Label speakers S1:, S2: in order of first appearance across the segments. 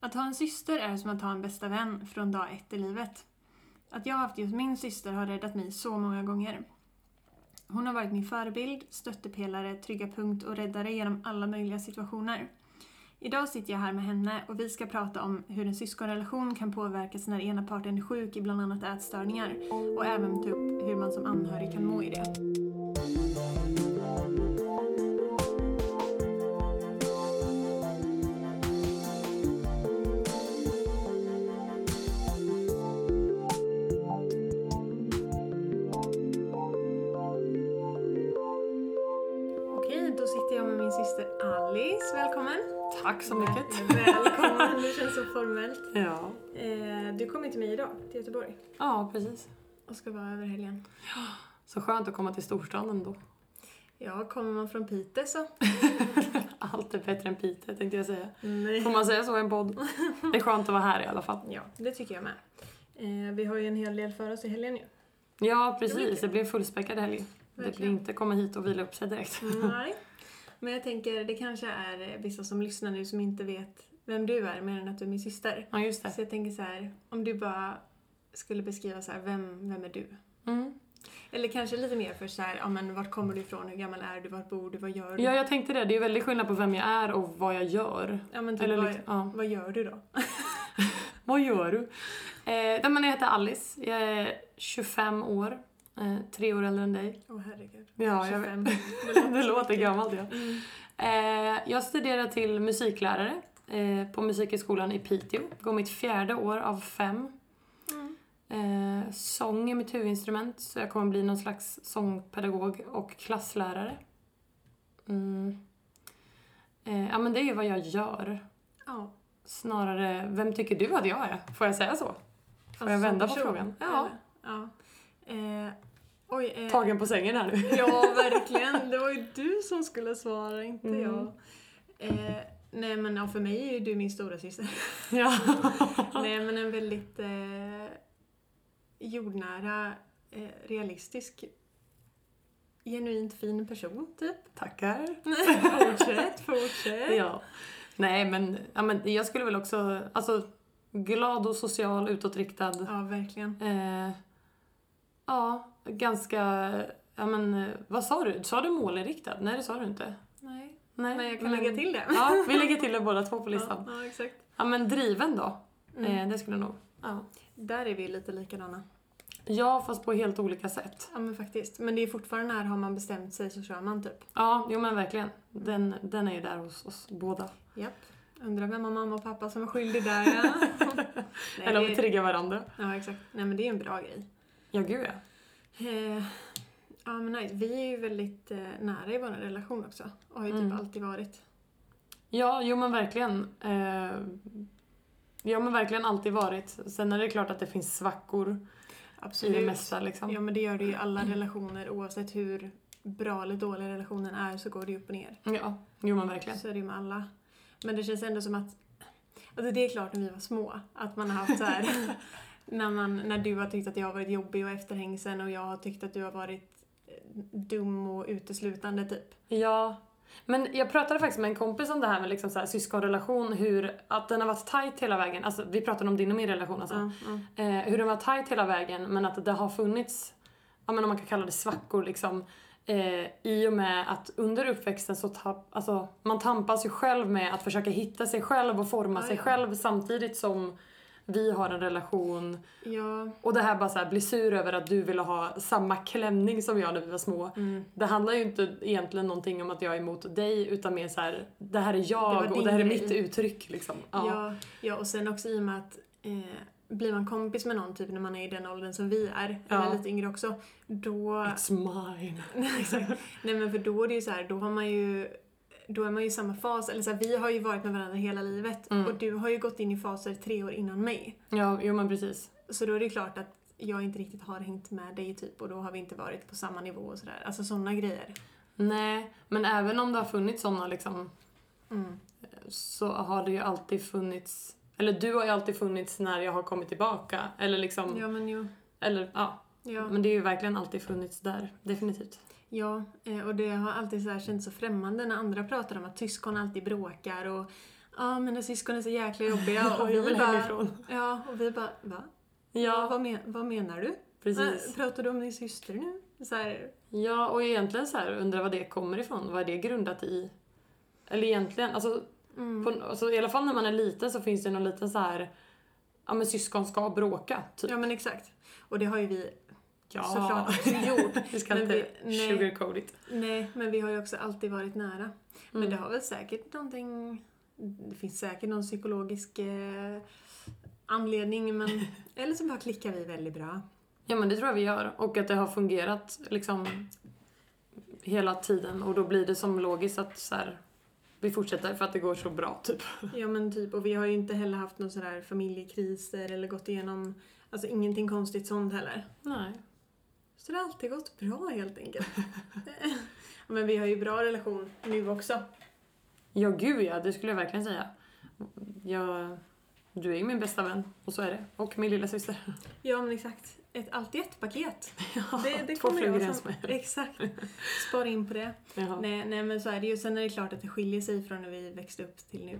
S1: Att ha en syster är som att ha en bästa vän från dag ett i livet. Att jag har haft just min syster har räddat mig så många gånger. Hon har varit min förebild, stöttepelare, trygga punkt och räddare genom alla möjliga situationer. Idag sitter jag här med henne och vi ska prata om hur en syskonrelation kan påverkas när ena parten är sjuk i bland annat ätstörningar och även ta upp hur man som anhörig kan må i det. Okej, då sitter jag med min syster Alice. Välkommen!
S2: Tack så mycket.
S1: Välkommen, det känns så formellt.
S2: Ja,
S1: Eh, du kommer till mig idag, till Göteborg,
S2: ja precis.
S1: och ska vara över helgen.
S2: Så skönt att komma till storstan ändå.
S1: Ja, kommer man från Piteå så.
S2: Allt är bättre än Piteå tänkte jag säga.
S1: Nej.
S2: Får man säga så i en podd? Det är skönt att vara här i alla fall.
S1: Ja, det tycker jag med. Eh, vi har ju en hel del för oss i helgen ju.
S2: Ja,
S1: Det blir
S2: precis.
S1: kul.
S2: Det blir en fullspäckad helg. Det blir
S1: Verkligen.
S2: inte komma hit och vila upp sig direkt.
S1: Nej. Mm. Men jag tänker, det kanske är eh, vissa som lyssnar nu som inte vet vem du är mer än att du är min syster.
S2: Ja, just det.
S1: Så jag tänker så här, om du bara skulle beskriva så här, vem, vem är du?
S2: Mm.
S1: Eller kanske lite mer för så här, ja men vart kommer du ifrån, hur gammal är du, vart bor du, vad gör du?
S2: Ja, jag tänkte det. Det är ju väldigt skillnad på vem jag är och vad jag gör.
S1: Ja, men typ,
S2: Eller
S1: vad,
S2: liksom, ja.
S1: vad gör du då?
S2: Vad gör du? Eh, nej, men jag heter Alice. Jag är 25 år. Eh, tre år äldre än dig.
S1: Åh herregud.
S2: Ja, jag vet.
S1: 25.
S2: Det låter
S1: mycket.
S2: gammalt, ja.
S1: Mm.
S2: Eh, jag studerar till musiklärare eh, på Musikhögskolan i Piteå. Går mitt fjärde år av fem.
S1: Mm.
S2: Eh, sång är mitt huvudinstrument, så jag kommer bli någon slags sångpedagog och klasslärare. Mm. Eh, ja, men det är ju vad jag gör.
S1: Ja.
S2: Snarare, vem tycker du att jag är? Får jag säga så? Får jag
S1: Alltså,
S2: vända
S1: som
S2: på
S1: person,
S2: frågan? Ja.
S1: eller? Ja. Eh, oj. Eh,
S2: Tagen på sängen här nu.
S1: Ja, verkligen. Det var ju du som skulle svara, inte
S2: Mm.
S1: jag. Eh, nej, men ja, för mig är ju du min stora syster.
S2: ja.
S1: nej, men en väldigt eh, jordnära, eh, realistisk, genuint fin person, typ.
S2: Tackar.
S1: fortsätt, fortsätt.
S2: Ja. Nej, men, ja, men jag skulle väl också... Alltså, glad och social, utåtriktad.
S1: Ja, verkligen.
S2: Eh, ja, ganska... Ja, men, eh, vad sa du? Sa du målinriktad? Nej, det sa du inte.
S1: Nej,
S2: Nej,
S1: men jag kan
S2: men-
S1: lägga till det.
S2: Ja, vi lägger till det båda två på
S1: ja,
S2: listan. Ja,
S1: ja, exakt.
S2: men driven då.
S1: Mm.
S2: Eh, det skulle jag nog... Ja.
S1: Där är vi ju lite likadana.
S2: ja, fast på helt olika sätt.
S1: Ja men faktiskt. Men det är fortfarande här har man bestämt sig så kör man typ.
S2: Ja, jo men verkligen. Den, den är ju där hos oss båda.
S1: Japp. Undrar vem av mamma och pappa som är skyldig där ja. Nej,
S2: Eller om
S1: det
S2: vi
S1: är-
S2: triggar varandra.
S1: Ja exakt. Nej men det är ju en bra grej.
S2: Ja, gud ja.
S1: Eh, ja men nice. Vi är ju väldigt eh, nära i vår relation också. Och har ju typ
S2: Mm.
S1: alltid varit.
S2: Ja, jo men verkligen. Eh, ja men verkligen alltid varit. Sen är det klart att det finns svackor i
S1: Absolut.
S2: det mesta liksom.
S1: Ja men det gör det ju i alla relationer oavsett hur bra eller dålig relationen är så går det ju upp och ner.
S2: Ja, jo men verkligen.
S1: Så är det ju med alla. Men det känns ändå som att... Alltså det är klart när vi var små, att man har haft så här... när, man, när du har tyckt att jag har varit jobbig och efterhängsen och jag har tyckt att du har varit eh, dum och uteslutande typ.
S2: Ja. Men jag pratade faktiskt med en kompis om det här med liksom så här, syskonrelation, hur att den har varit tight hela vägen. Alltså vi pratade om din och min relation alltså.
S1: Ja, ja.
S2: Eh, hur den var tight hela vägen men att det har funnits, ja men om man kan kalla det svackor liksom. Eh, I och med att under uppväxten så tapp, alltså, man tampas ju själv med att försöka hitta sig själv och forma
S1: Ja,
S2: sig
S1: ja.
S2: själv samtidigt som vi har en relation.
S1: ja.
S2: Och det här bara så här, bli sur över att du ville ha samma klänning som jag när vi var små.
S1: Mm.
S2: Det handlar ju inte egentligen någonting om att jag är emot dig utan mer så här, det här är jag
S1: Det var
S2: och det här är
S1: din
S2: mitt
S1: grej.
S2: uttryck liksom. Ja.
S1: Ja, ja, och sen också i och med att eh, blir man kompis med någon typ när man är i den åldern som vi är,
S2: Ja.
S1: eller lite yngre också, då...
S2: It's mine.
S1: Nej, exakt. Nej men för då är det ju så här, då har man ju då är man ju i samma fas, eller så här, vi har ju varit med varandra hela livet
S2: Mm.
S1: och du har ju gått in i faser tre år innan mig.
S2: Ja, jo men precis.
S1: Så då är det klart att jag inte riktigt har hängt med dig typ och då har vi inte varit på samma nivå och sådär. Alltså sådana grejer.
S2: Nej, men även om det har funnits sådana liksom,
S1: Mm.
S2: så har det ju alltid funnits, eller du har ju alltid funnits när jag har kommit tillbaka. Eller liksom,
S1: Ja men jo.
S2: eller ja.
S1: Ja,
S2: Men det är ju verkligen alltid funnits där, definitivt.
S1: ja, eh, och det har alltid så här känts så främmande när andra pratar om att syskon alltid bråkar och ja mina syskon är så jäkla jobbiga
S2: Ja,
S1: och
S2: jag
S1: vi
S2: vill
S1: bara,
S2: hemifrån.
S1: ja, och vi bara va?
S2: Ja,
S1: Vad, men, vad menar du?
S2: precis.
S1: Äh, Pratar du om din syster nu? Så här,
S2: Ja, och egentligen så här, undrar vad det kommer ifrån. Vad är det grundat i? Eller egentligen, alltså,
S1: mm.
S2: på, alltså i alla fall när man är liten så finns det någon liten så här, ja men syskon ska bråka, typ. alltså,
S1: Ja men exakt. Och det har ju vi
S2: Ja,
S1: såklart också gjort.
S2: Vi ska
S1: Men
S2: inte
S1: vi- nej.
S2: sugarcoat it.
S1: Nej, men vi har ju också alltid varit nära. Men
S2: Mm.
S1: det har väl säkert någonting... Det finns säkert någon psykologisk eh, anledning, men... Eller så bara klickar vi väldigt bra.
S2: Ja men det tror jag vi gör och att det har fungerat liksom hela tiden och då blir det som logiskt att så här, vi fortsätter för att det går så bra typ.
S1: Ja men typ, och vi har ju inte heller haft någon sån här familjekriser eller gått igenom... Alltså ingenting konstigt sånt heller.
S2: Nej.
S1: Så det har alltid gått bra helt enkelt. Ja, men vi har ju bra relation nu också.
S2: Ja gud ja, det skulle jag verkligen säga. Jag, du är ju min bästa vän och så är det. Och min lilla syster.
S1: Ja men exakt. Ett, alltid ett paket.
S2: Ja,
S1: Det, det
S2: två
S1: kommer
S2: flugor i
S1: jag
S2: en
S1: som...
S2: smäll.
S1: Exakt. Spara in på det.
S2: Jaha.
S1: Nej, nej men så är det ju. Sen är det klart att det skiljer sig från när vi växte upp till nu.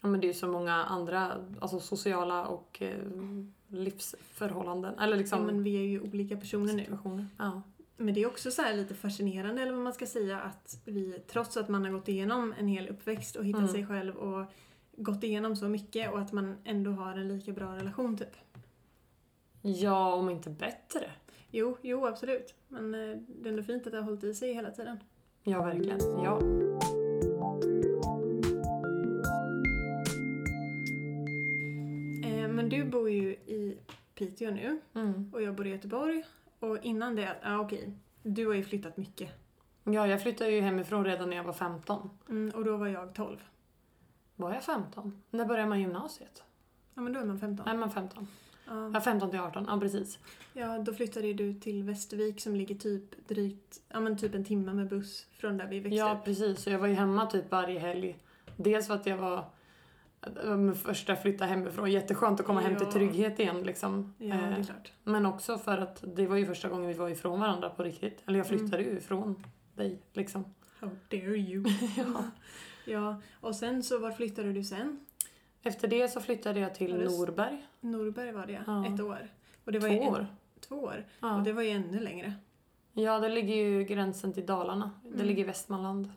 S2: Ja men det är ju så många andra alltså, sociala och eh, livsförhållanden. Eller liksom
S1: Ja, men vi är ju olika personer nu.
S2: situationer. Ja.
S1: Men det är också så här lite fascinerande, eller vad man ska säga, att vi trots att man har gått igenom en hel uppväxt och hittat
S2: Mm.
S1: sig själv och gått igenom så mycket och att man ändå har en lika bra relation typ.
S2: ja, om inte bättre.
S1: Jo, jo absolut. Men eh, det är ändå fint att det har hållit i sig hela tiden.
S2: Ja, verkligen. Ja.
S1: Eh, men du bor ju i Piteå nu
S2: Mm.
S1: och jag bor i Göteborg. Och innan det, ja okej, du har ju flyttat mycket.
S2: Ja, jag flyttade ju hemifrån redan när jag var 15.
S1: Mm, och då var jag 12.
S2: Var jag 15? När började man gymnasiet?
S1: Ja men då är man 15.
S2: Nej, man 15.
S1: Ja.
S2: Ja, 15 till 18. Ja, precis.
S1: Ja, då flyttade ju du till Västervik som ligger typ drygt, ja men typ en timme med buss från där vi växte
S2: Ja,
S1: upp.
S2: precis. Så jag var ju hemma typ varje helg. Dels för att jag var det var min första flytta hemifrån. Jätteskönt att komma hem till
S1: Ja.
S2: trygghet igen liksom.
S1: Ja, det
S2: Eh,
S1: är klart.
S2: Men också för att det var ju första gången vi var ifrån varandra på riktigt. Eller jag
S1: Mm.
S2: flyttade ju ifrån dig liksom.
S1: How dare you.
S2: Ja.
S1: Ja, och sen så var flyttade du sen?
S2: Efter det så flyttade jag till
S1: Ja, just-
S2: Norberg.
S1: Norberg var det,
S2: Ja.
S1: ett år. Och det var ju
S2: Två
S1: en-
S2: år.
S1: två år.
S2: Ja.
S1: Och det var ju ännu längre.
S2: ja, det ligger ju gränsen till Dalarna. Det
S1: Mm.
S2: ligger i Västmanland.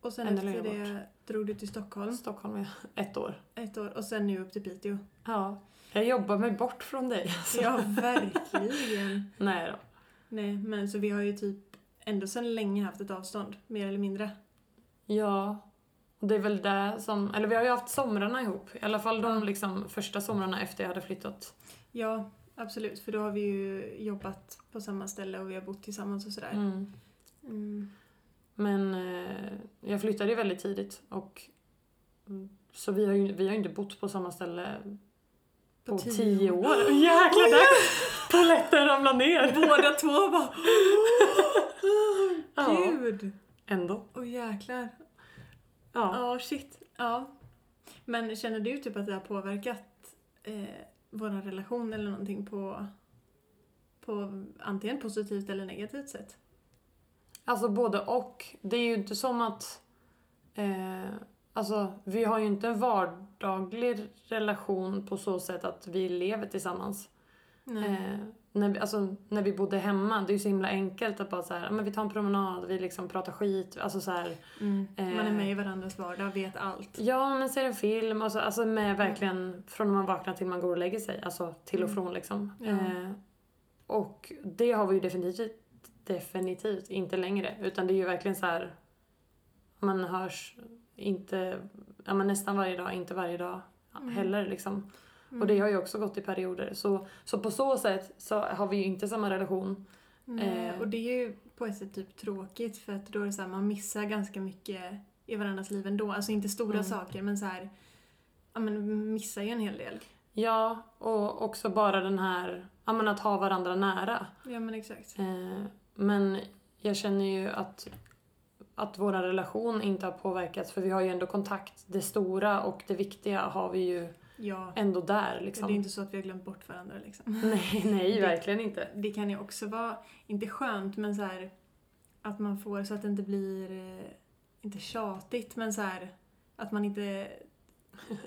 S1: Och sen
S2: Ännu
S1: efter
S2: längre
S1: det drog du till Stockholm
S2: Stockholm är ett år.
S1: ett år och sen nu upp till Piteå.
S2: Ja. Jag jobbar mig bort från dig.
S1: Ja, verkligen.
S2: Nej då.
S1: Nej, men så vi har ju typ ändå sedan länge haft ett avstånd, mer eller mindre.
S2: Ja. Det är väl det som... Eller vi har ju haft somrarna ihop. I alla fall de liksom första somrarna efter jag hade flyttat.
S1: Ja, absolut. För då har vi ju jobbat på samma ställe och vi har bott tillsammans och sådär.
S2: Mm.
S1: Mm.
S2: Men eh, jag flyttade ju väldigt tidigt och mm, så vi har ju vi har ju inte bott på samma ställe på, tio, år. Jäklar, där polletten ramlade ner!
S1: Båda två bara
S2: Ja,
S1: gud!
S2: ändå.
S1: Åh jäklar.
S2: Ja.
S1: Ja, shit. Ja. Men känner du typ att det har påverkat eh, vår relation eller någonting på, på antingen positivt eller negativt sätt?
S2: Alltså både och. Det är ju inte som att... Eh, alltså, vi har ju inte en vardaglig relation på så sätt att vi lever tillsammans. Eh, när, vi, alltså, när vi bodde hemma, det är ju så himla enkelt att bara så här, "Ja, men vi tar en promenad, vi liksom pratar skit, alltså så här.
S1: Mm. Man är
S2: eh.
S1: med i varandras vardag, vet allt.
S2: Ja, men ser en film. Alltså, alltså med verkligen från när man vaknar till man går och lägger sig. Alltså till och
S1: Mm.
S2: från liksom.
S1: Ja.
S2: Eh, och det har vi ju definitivt, definitivt inte längre. Utan det är ju verkligen så här. Man hörs inte, ja men nästan varje dag, inte varje dag
S1: Mm.
S2: heller liksom.
S1: Mm.
S2: Och det har ju också gått i perioder. Så, så på så sätt så har vi ju inte samma relation.
S1: Nej,
S2: Eh.
S1: och det är ju på ett sätt typ tråkigt för att då är det så här, man missar ganska mycket i varandras liv ändå. Alltså inte stora
S2: Mm.
S1: saker men så här, ja men missar ju en hel del.
S2: Ja, och också bara den här, ja men att ha varandra nära.
S1: Ja men exakt.
S2: Eh, men jag känner ju att, att vår relation inte har påverkats för vi har ju ändå kontakt. Det stora och det viktiga har vi ju
S1: Ja,
S2: ändå där
S1: det är
S2: liksom.
S1: inte så att vi har glömt bort varandra liksom.
S2: Nej, nej,
S1: Det-
S2: verkligen inte.
S1: Det kan ju också vara, inte skönt men så här att man får så att det inte blir, eh, inte tjatigt men så här att man inte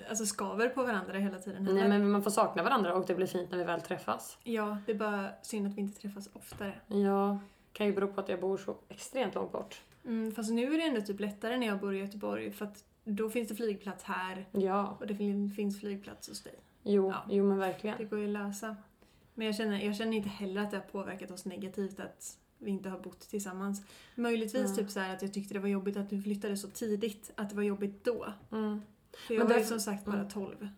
S1: alltså, skaver på varandra hela tiden.
S2: Nej
S1: heller.
S2: men man får sakna varandra och det blir fint när vi väl träffas.
S1: Ja, det är bara synd att vi inte träffas oftare.
S2: Ja, kan ju bero på att jag bor så extremt långt bort.
S1: Mm, fast nu är det ändå typ lättare när jag bor i Göteborg för att då finns det flygplats här
S2: Ja,
S1: och det fin- finns flygplats hos dig.
S2: jo,
S1: Ja.
S2: jo men verkligen.
S1: Det går ju att lösa. Men jag känner, jag känner inte heller att det har påverkat oss negativt att vi inte har bott tillsammans. Möjligtvis
S2: Ja.
S1: typ så här att jag tyckte det var jobbigt att du flyttade så tidigt, att det var jobbigt då.
S2: Mm.
S1: För jag
S2: Men
S1: var ju
S2: därför-
S1: som sagt bara
S2: mm.
S1: 12.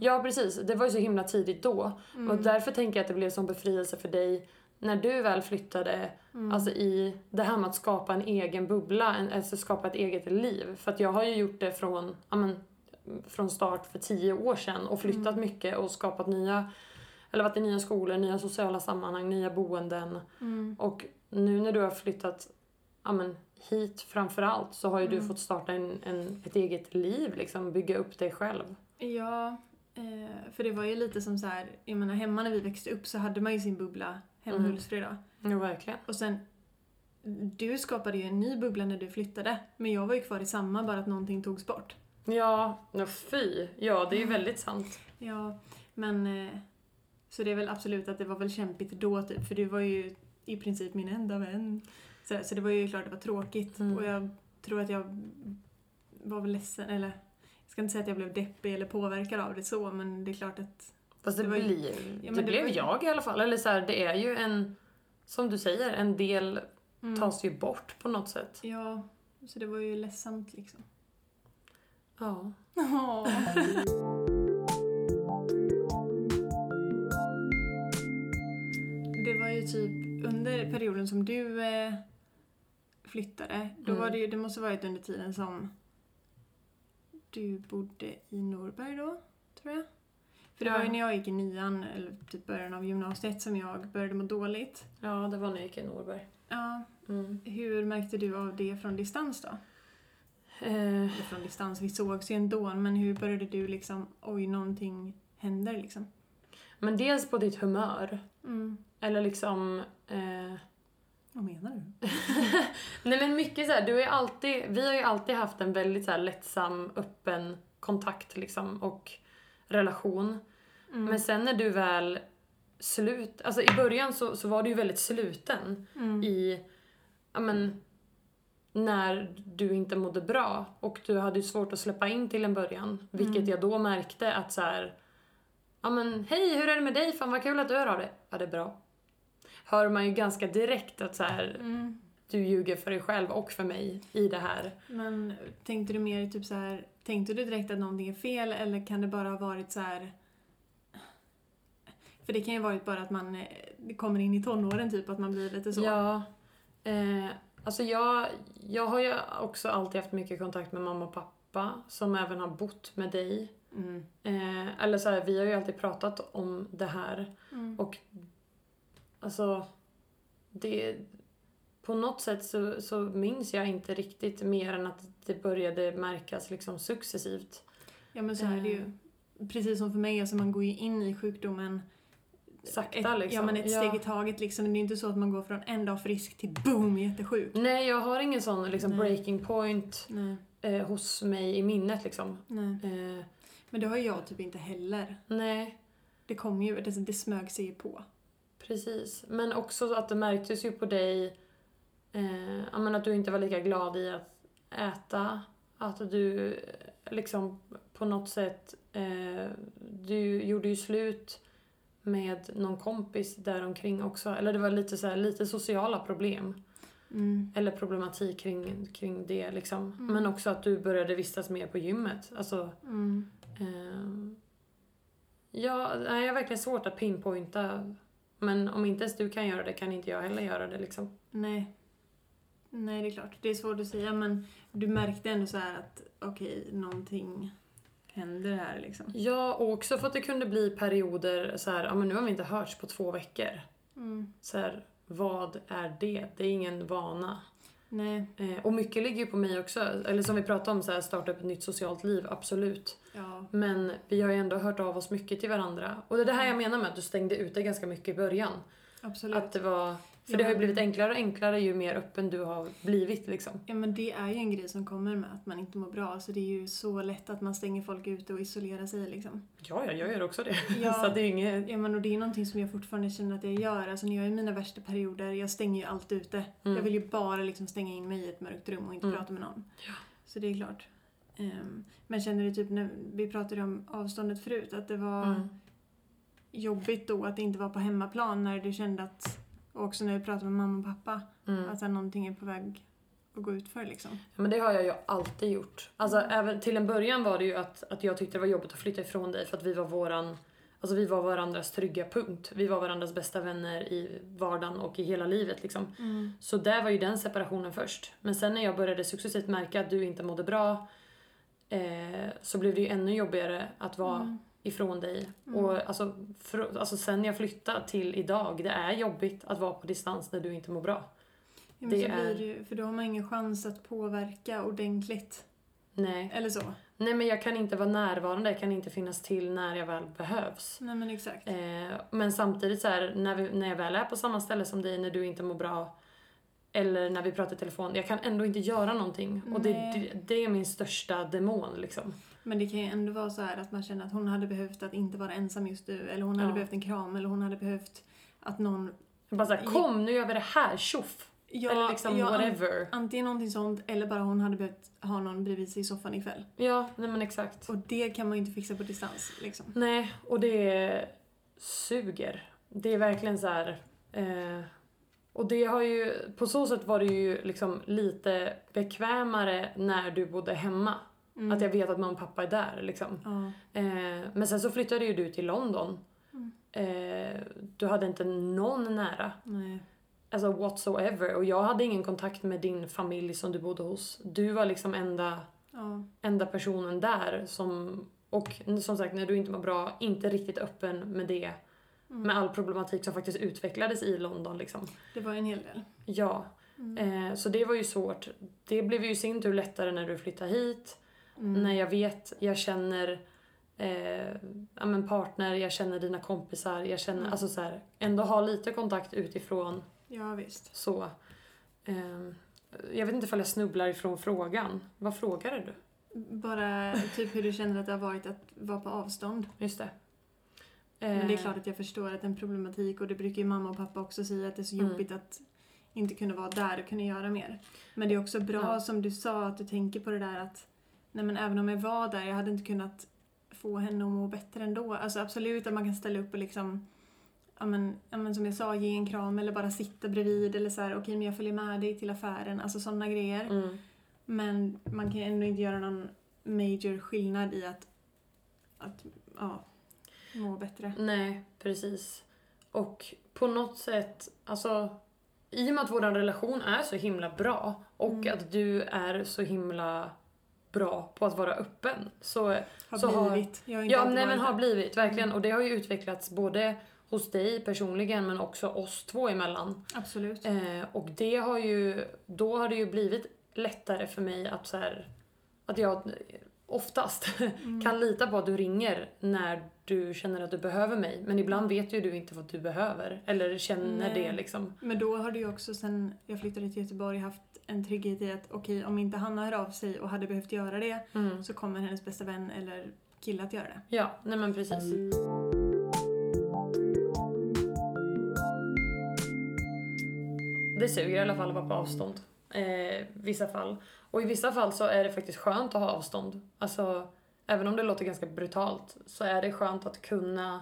S2: Ja precis, det var ju så himla tidigt då.
S1: Mm.
S2: Och därför tänker jag att det blev som befrielse för dig när du väl flyttade,
S1: Mm.
S2: alltså i det här med att skapa en egen bubbla, en, alltså skapa ett eget liv. För att jag har ju gjort det från, ja, men, från start för tio år sedan och flyttat mycket och skapat nya, eller varit i nya skolor, nya sociala sammanhang, nya boenden.
S1: Mm.
S2: Och nu när du har flyttat ja, men, hit framförallt så har ju du
S1: Mm.
S2: fått starta en, en, ett eget liv, liksom, bygga upp dig själv.
S1: Ja, eh, för det var ju lite som så här, jag menar hemma när vi växte upp så hade man ju sin bubbla hemma i
S2: Mm.
S1: Hultsfred då.
S2: Jo, verkligen.
S1: Och sen, du skapade ju en ny bubbla när du flyttade. Men jag var ju kvar i samma, bara att någonting togs bort.
S2: Ja, no, fy. Ja, det är ju väldigt sant.
S1: Ja, men... eh, Så det är väl absolut att det var väl kämpigt då, typ. För du var ju i princip min enda vän. Så, så det var ju klart det var tråkigt.
S2: Mm.
S1: Och jag tror att jag var väl ledsen, eller... Jag ska inte säga att jag blev deppig eller påverkad av det så, men det är klart att...
S2: Fast det,
S1: Det var ju-
S2: blir,
S1: men
S2: det
S1: det
S2: blev
S1: var ju-
S2: jag i alla fall. Eller så här, det är ju en, som du säger, en del tas ju bort på något sätt.
S1: Ja, så det var ju ledsamt liksom.
S2: Ja.
S1: Det var ju typ under perioden som du eh, flyttade, då
S2: Mm.
S1: var det ju, det måste varit under tiden som du bodde i Norberg då, tror jag. För det var ju
S2: Ja.
S1: när jag gick i nian, eller typ början av gymnasiet, som jag började må dåligt.
S2: ja, det var när jag gick i Norberg.
S1: Ja,
S2: Mm.
S1: hur märkte du av det från distans då?
S2: Eh,
S1: Eller från distans, vi sågs ju ändå, men hur började du liksom, oj, någonting händer liksom?
S2: men dels på ditt humör.
S1: Mm.
S2: Eller liksom... Eh,
S1: Vad menar du?
S2: Nej men mycket så här, du har ju alltid, vi har ju alltid haft en väldigt så här lättsam, öppen kontakt liksom och relation.
S1: Mm.
S2: Men sen när du väl slut, alltså i början så, så var du ju väldigt sluten
S1: Mm.
S2: i, ja men, när du inte mådde bra och du hade ju svårt att släppa in till en början. Vilket
S1: Mm.
S2: jag då märkte att så här, ja men hej hur är det med dig? Fan vad kul att du hör av dig. Ja det är bra. Hör man ju ganska direkt att så här,
S1: Mm.
S2: du ljuger för dig själv och för mig i det här.
S1: Men tänkte du mer typ så här, tänkte du direkt att någonting är fel eller kan det bara ha varit så här för det kan ju varit bara att man eh, det kommer in i tonåren typ, att man blir lite så.
S2: Ja. Eh, alltså jag, jag har ju också alltid haft mycket kontakt med mamma och pappa som även har bott med dig.
S1: Mm.
S2: Eh, eller så här, vi har ju alltid pratat om det här.
S1: Mm.
S2: Och alltså, det... På något sätt så, så minns jag inte riktigt mer än att det började märkas liksom successivt.
S1: Ja men så är det ju.
S2: Eh.
S1: Precis som för mig, alltså man går ju in i sjukdomen
S2: Sakta
S1: ett,
S2: liksom.
S1: Ja men ett steg i taget liksom. Det är ju inte så att man går från en dag frisk till boom jättesjuk.
S2: Nej, jag har ingen sån liksom,
S1: Nej.
S2: breaking point
S1: Nej,
S2: eh, hos mig i minnet liksom.
S1: nej.
S2: Eh,
S1: Men det har ju jag typ inte heller.
S2: nej,
S1: Det kom ju, det, det smög sig ju på.
S2: precis. Men också att det märktes ju på dig eh, ja, men att du inte var lika glad i att äta. Att du eh, liksom på något sätt... Eh, du gjorde ju slut med någon kompis däromkring också. Eller det var lite, så här, lite sociala problem.
S1: Mm.
S2: Eller problematik kring, kring det liksom.
S1: Mm.
S2: Men också att du började vistas mer på gymmet. Alltså,
S1: Mm.
S2: Ehm, Ja, nej, jag har verkligen svårt att pinpointa. Men om inte ens du kan göra det kan inte jag heller göra det liksom.
S1: Nej. Nej, det är klart. Det är svårt att säga men du märkte ändå så här att okej, någonting händer här liksom.
S2: Ja, och också för att det kunde bli perioder så här, ja men nu har vi inte hörts på två veckor.
S1: Mm.
S2: Så här, vad är det? Det är ingen vana.
S1: Nej,
S2: Eh, och mycket ligger ju på mig också. Eller som vi pratade om, så här, starta upp ett nytt socialt liv, absolut.
S1: ja.
S2: Men vi har ju ändå hört av oss mycket till varandra. Och det är det här jag menar med att du stängde ute ganska mycket i början.
S1: Absolut.
S2: Att det var... För
S1: Ja,
S2: det har ju
S1: men-
S2: blivit enklare och enklare ju mer öppen du har blivit liksom.
S1: Ja men det är ju en grej som kommer med att man inte mår bra så det är ju så lätt att man stänger folk ute och isolerar sig liksom.
S2: Ja, ja, jag gör också det.
S1: Ja.
S2: Så att det är ju inget...
S1: Eh, Ja men och det är någonting som jag fortfarande känner att jag gör. Alltså när jag är i mina värsta perioder, jag stänger ju allt ute.
S2: Mm.
S1: Jag vill ju bara liksom stänga in mig i ett mörkt rum och inte
S2: Mm.
S1: prata med någon. Så det är klart. Ehm, men känner du typ när vi pratade om avståndet förut att det var
S2: Mm.
S1: jobbigt då att det inte var på hemmaplan när du kände att och också när vi pratade med mamma och pappa
S2: Mm.
S1: att så här, någonting är på väg att gå ut för liksom.
S2: Ja, Men det har jag ju alltid gjort. Alltså även till en början var det ju att, att jag tyckte det var jobbigt att flytta ifrån dig för att vi var våran Alltså vi var varandras trygga punkt. Vi var varandras bästa vänner i vardagen och i hela livet liksom. Så där var ju den separationen först. Men sen när jag började successivt märka att du inte mådde bra eh, så blev det ju ännu jobbigare att vara
S1: Mm.
S2: ifrån dig.
S1: Mm.
S2: Och alltså, fr- alltså sen jag flyttade till idag, det är jobbigt att vara på distans när du inte mår bra.
S1: Ja, men
S2: Det
S1: så blir
S2: är-
S1: det ju, för då har man ingen chans att påverka ordentligt.
S2: Nej.
S1: Eller så.
S2: Nej men jag kan inte vara närvarande, jag kan inte finnas till när jag väl behövs.
S1: Nej men exakt.
S2: Eh, men samtidigt så här, när, vi, när jag väl är på samma ställe som dig, när du inte mår bra eller när vi pratar i telefon, jag kan ändå inte göra någonting. Och det,
S1: Nej.
S2: det, det är min största demon liksom.
S1: Men det kan ju ändå vara så här att man känner att hon hade behövt att inte vara ensam just nu. Eller hon hade
S2: Ja.
S1: behövt en kram. Eller hon hade behövt att någon...
S2: Jag bara såhär, kom nu gör vi det här, tjoff!
S1: Ja,
S2: eller liksom
S1: ja,
S2: whatever.
S1: Antingen någonting sånt eller bara hon hade behövt ha någon bredvid sig i soffan ikväll.
S2: Ja, nej men exakt.
S1: Och det kan man ju inte fixa på distans liksom.
S2: Nej, och det suger. Det är verkligen så här. Eh, och det har ju, på så sätt var det ju liksom lite bekvämare när du bodde hemma.
S1: Mm.
S2: Att jag vet att mamma och pappa är där liksom.
S1: Ja.
S2: Eh, men sen så flyttade ju du till London.
S1: Mm.
S2: Eh, du hade inte någon nära.
S1: Nej.
S2: Alltså whatsoever. Och jag hade ingen kontakt med din familj som du bodde hos. Du var liksom enda
S1: Ja. mm.
S2: enda personen där som och som sagt, när du inte mår bra, inte riktigt öppen med det.
S1: Mm.
S2: Med all problematik som faktiskt utvecklades i London liksom.
S1: Det var en hel del.
S2: Ja.
S1: Mm.
S2: Eh, så det var ju svårt. Det blev ju i sin tur lättare när du flyttade hit.
S1: Mm.
S2: När jag vet, jag känner eh, ja, men partner, jag känner dina kompisar, jag känner,
S1: Mm.
S2: alltså så här, ändå ha lite kontakt utifrån
S1: Ja visst.
S2: så. Ehm, jag vet inte ifall jag snubblar ifrån frågan. Vad frågade du?
S1: Bara typ hur du känner att det har varit att vara på avstånd.
S2: Just det.
S1: Men det är
S2: Eh,
S1: klart att jag förstår att det är en problematik och det brukar ju mamma och pappa också säga att det är så
S2: Mm.
S1: jobbigt att inte kunna vara där och kunna göra mer. Men det är också bra
S2: Ja.
S1: som du sa att du tänker på det där att nej men även om jag var där, jag hade inte kunnat få henne att må bättre ändå. Alltså absolut att man kan ställa upp och liksom Ja men, ja men som jag sa, ge en kram eller bara sitta bredvid eller så här, okej men jag följer med dig till affären, alltså sådana grejer.
S2: Mm.
S1: Men man kan ju ändå inte göra någon major skillnad i att, att ja, må bättre.
S2: Nej, precis. Och på något sätt, alltså i och med att vår relation är så himla bra och
S1: Mm.
S2: att du är så himla bra på att vara öppen så
S1: Har
S2: så har-
S1: blivit. Jag har inte
S2: Ja,
S1: alltid Mm.
S2: nej, men
S1: varit
S2: har
S1: det.
S2: blivit verkligen och det har ju utvecklats både hos dig personligen men också oss två emellan.
S1: Absolut.
S2: Eh, och det har ju, då har det ju blivit lättare för mig att så här, att jag oftast
S1: Mm.
S2: kan lita på att du ringer när du känner att du behöver mig. Men ibland vet ju du inte vad du behöver. Eller känner
S1: Nej.
S2: det liksom.
S1: Men då har du ju också sen jag flyttade till Göteborg haft en trygghet i att okej, om inte Hanna hör av sig och hade behövt göra det
S2: Mm.
S1: så kommer hennes bästa vän eller kille att göra det.
S2: Ja, nej men precis. Det suger i alla fall att vara på avstånd. Eh, vissa fall. Och i vissa fall så är det faktiskt skönt att ha avstånd. Alltså, även om det låter ganska brutalt så är det skönt att kunna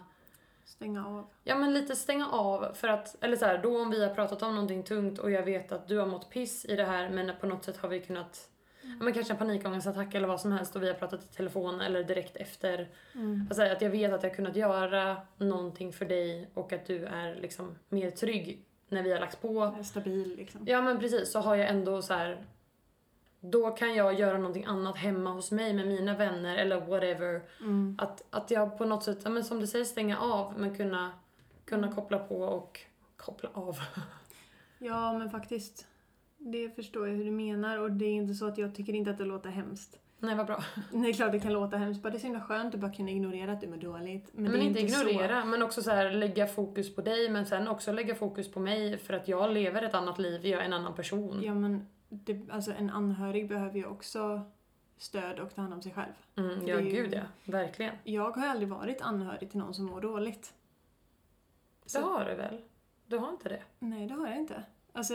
S1: Stänga av.
S2: Ja men lite stänga av för att, eller så här, då om vi har pratat om någonting tungt och jag vet att du har mått piss i det här men på något sätt har vi kunnat, ja men kanske en panikångestattack eller vad som helst och vi har pratat i telefon eller direkt efter.
S1: Mm.
S2: Alltså att jag vet att jag har kunnat göra någonting för dig och att du är liksom mer trygg när vi har lagts på.
S1: Stabil liksom.
S2: Alltså- Ja men precis, så har jag ändå så här. Då kan jag göra någonting annat hemma hos mig med mina vänner eller whatever.
S1: Mm.
S2: Att, att jag på något sätt, ja, men som du säger, stänga av men kunna, kunna koppla på och koppla av.
S1: Ja, men faktiskt. Det förstår jag hur du menar och det är inte så att jag tycker inte att det låter hemskt.
S2: Nej, vad bra.
S1: Det är klart det kan låta hemskt, bara det är så himla skönt att bara kunna ignorera att du mår dåligt. Men,
S2: Men,
S1: det är
S2: inte
S1: inte så.
S2: ignorera, men också så här, lägga fokus på dig men sen också lägga fokus på mig för att jag lever ett annat liv, jag är en annan person.
S1: Ja men, det, alltså en anhörig behöver ju också stöd och ta hand om sig själv.
S2: Mm, ja,
S1: Det är ju-
S2: gud ja. Verkligen.
S1: Jag har ju aldrig varit anhörig till någon som mår dåligt.
S2: Det
S1: Så-
S2: har du väl? Du har inte det?
S1: Nej, det har jag inte. Alltså,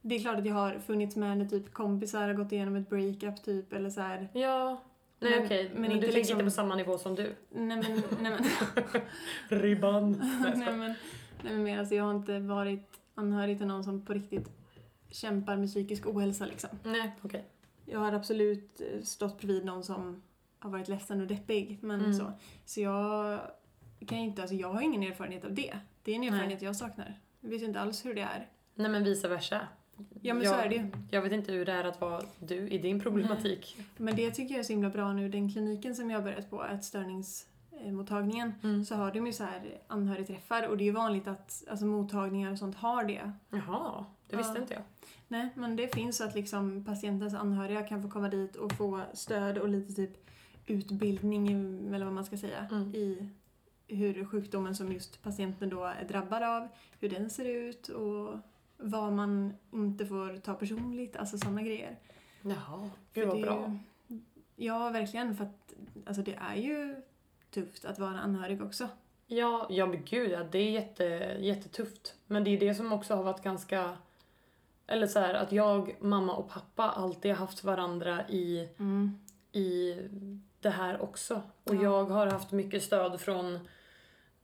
S1: det är klart att jag har funnits med när typ kompisar har gått igenom ett breakup typ eller så här.
S2: Ja. Nej
S1: Men-
S2: okej,
S1: men
S2: men,
S1: inte
S2: du ligger
S1: liksom-
S2: inte på samma nivå som du.
S1: Nej men, nej men,
S2: Ribban.
S1: nej men, nej men mer alltså jag har inte varit anhörig till någon som på riktigt kämpar med psykisk ohälsa liksom.
S2: Nej, okej.
S1: Jag har absolut eh, stått bredvid någon som har varit ledsen och deppig. Men
S2: Mm.
S1: så. så jag kan ju inte, alltså jag har ingen erfarenhet av det. Det är en
S2: Nej.
S1: erfarenhet jag saknar. Jag vet ju inte alls hur det är.
S2: Nej men vice versa.
S1: Ja men så
S2: Jag-
S1: är det ju.
S2: Jag vet inte hur det är att vara du i din problematik.
S1: Men det tycker jag är så himla bra nu. Den kliniken som jag har börjat på, ätstörningsmottagningen,
S2: Mm.
S1: så har de ju så här anhörigträffar och det är ju vanligt att alltså, mottagningar och sånt har det.
S2: Jaha, det visste
S1: Ja.
S2: inte jag.
S1: Nej, men det finns så att liksom patientens anhöriga kan få komma dit och få stöd och lite typ utbildning, eller vad man ska säga,
S2: Mm.
S1: i hur sjukdomen som just patienten då är drabbad av, hur den ser ut och vad man inte får ta personligt, alltså sådana grejer.
S2: Jaha,
S1: För
S2: gud vad
S1: det är
S2: bra.
S1: ju- Ja, verkligen, för att alltså, det är ju tufft att vara anhörig också.
S2: Ja, ja men gud ja, det är jätte, jättetufft. Men det är det som också har varit ganska... Eller så här, att jag, mamma och pappa alltid har haft varandra i, i det här också. Och
S1: Ja.
S2: jag har haft mycket stöd från,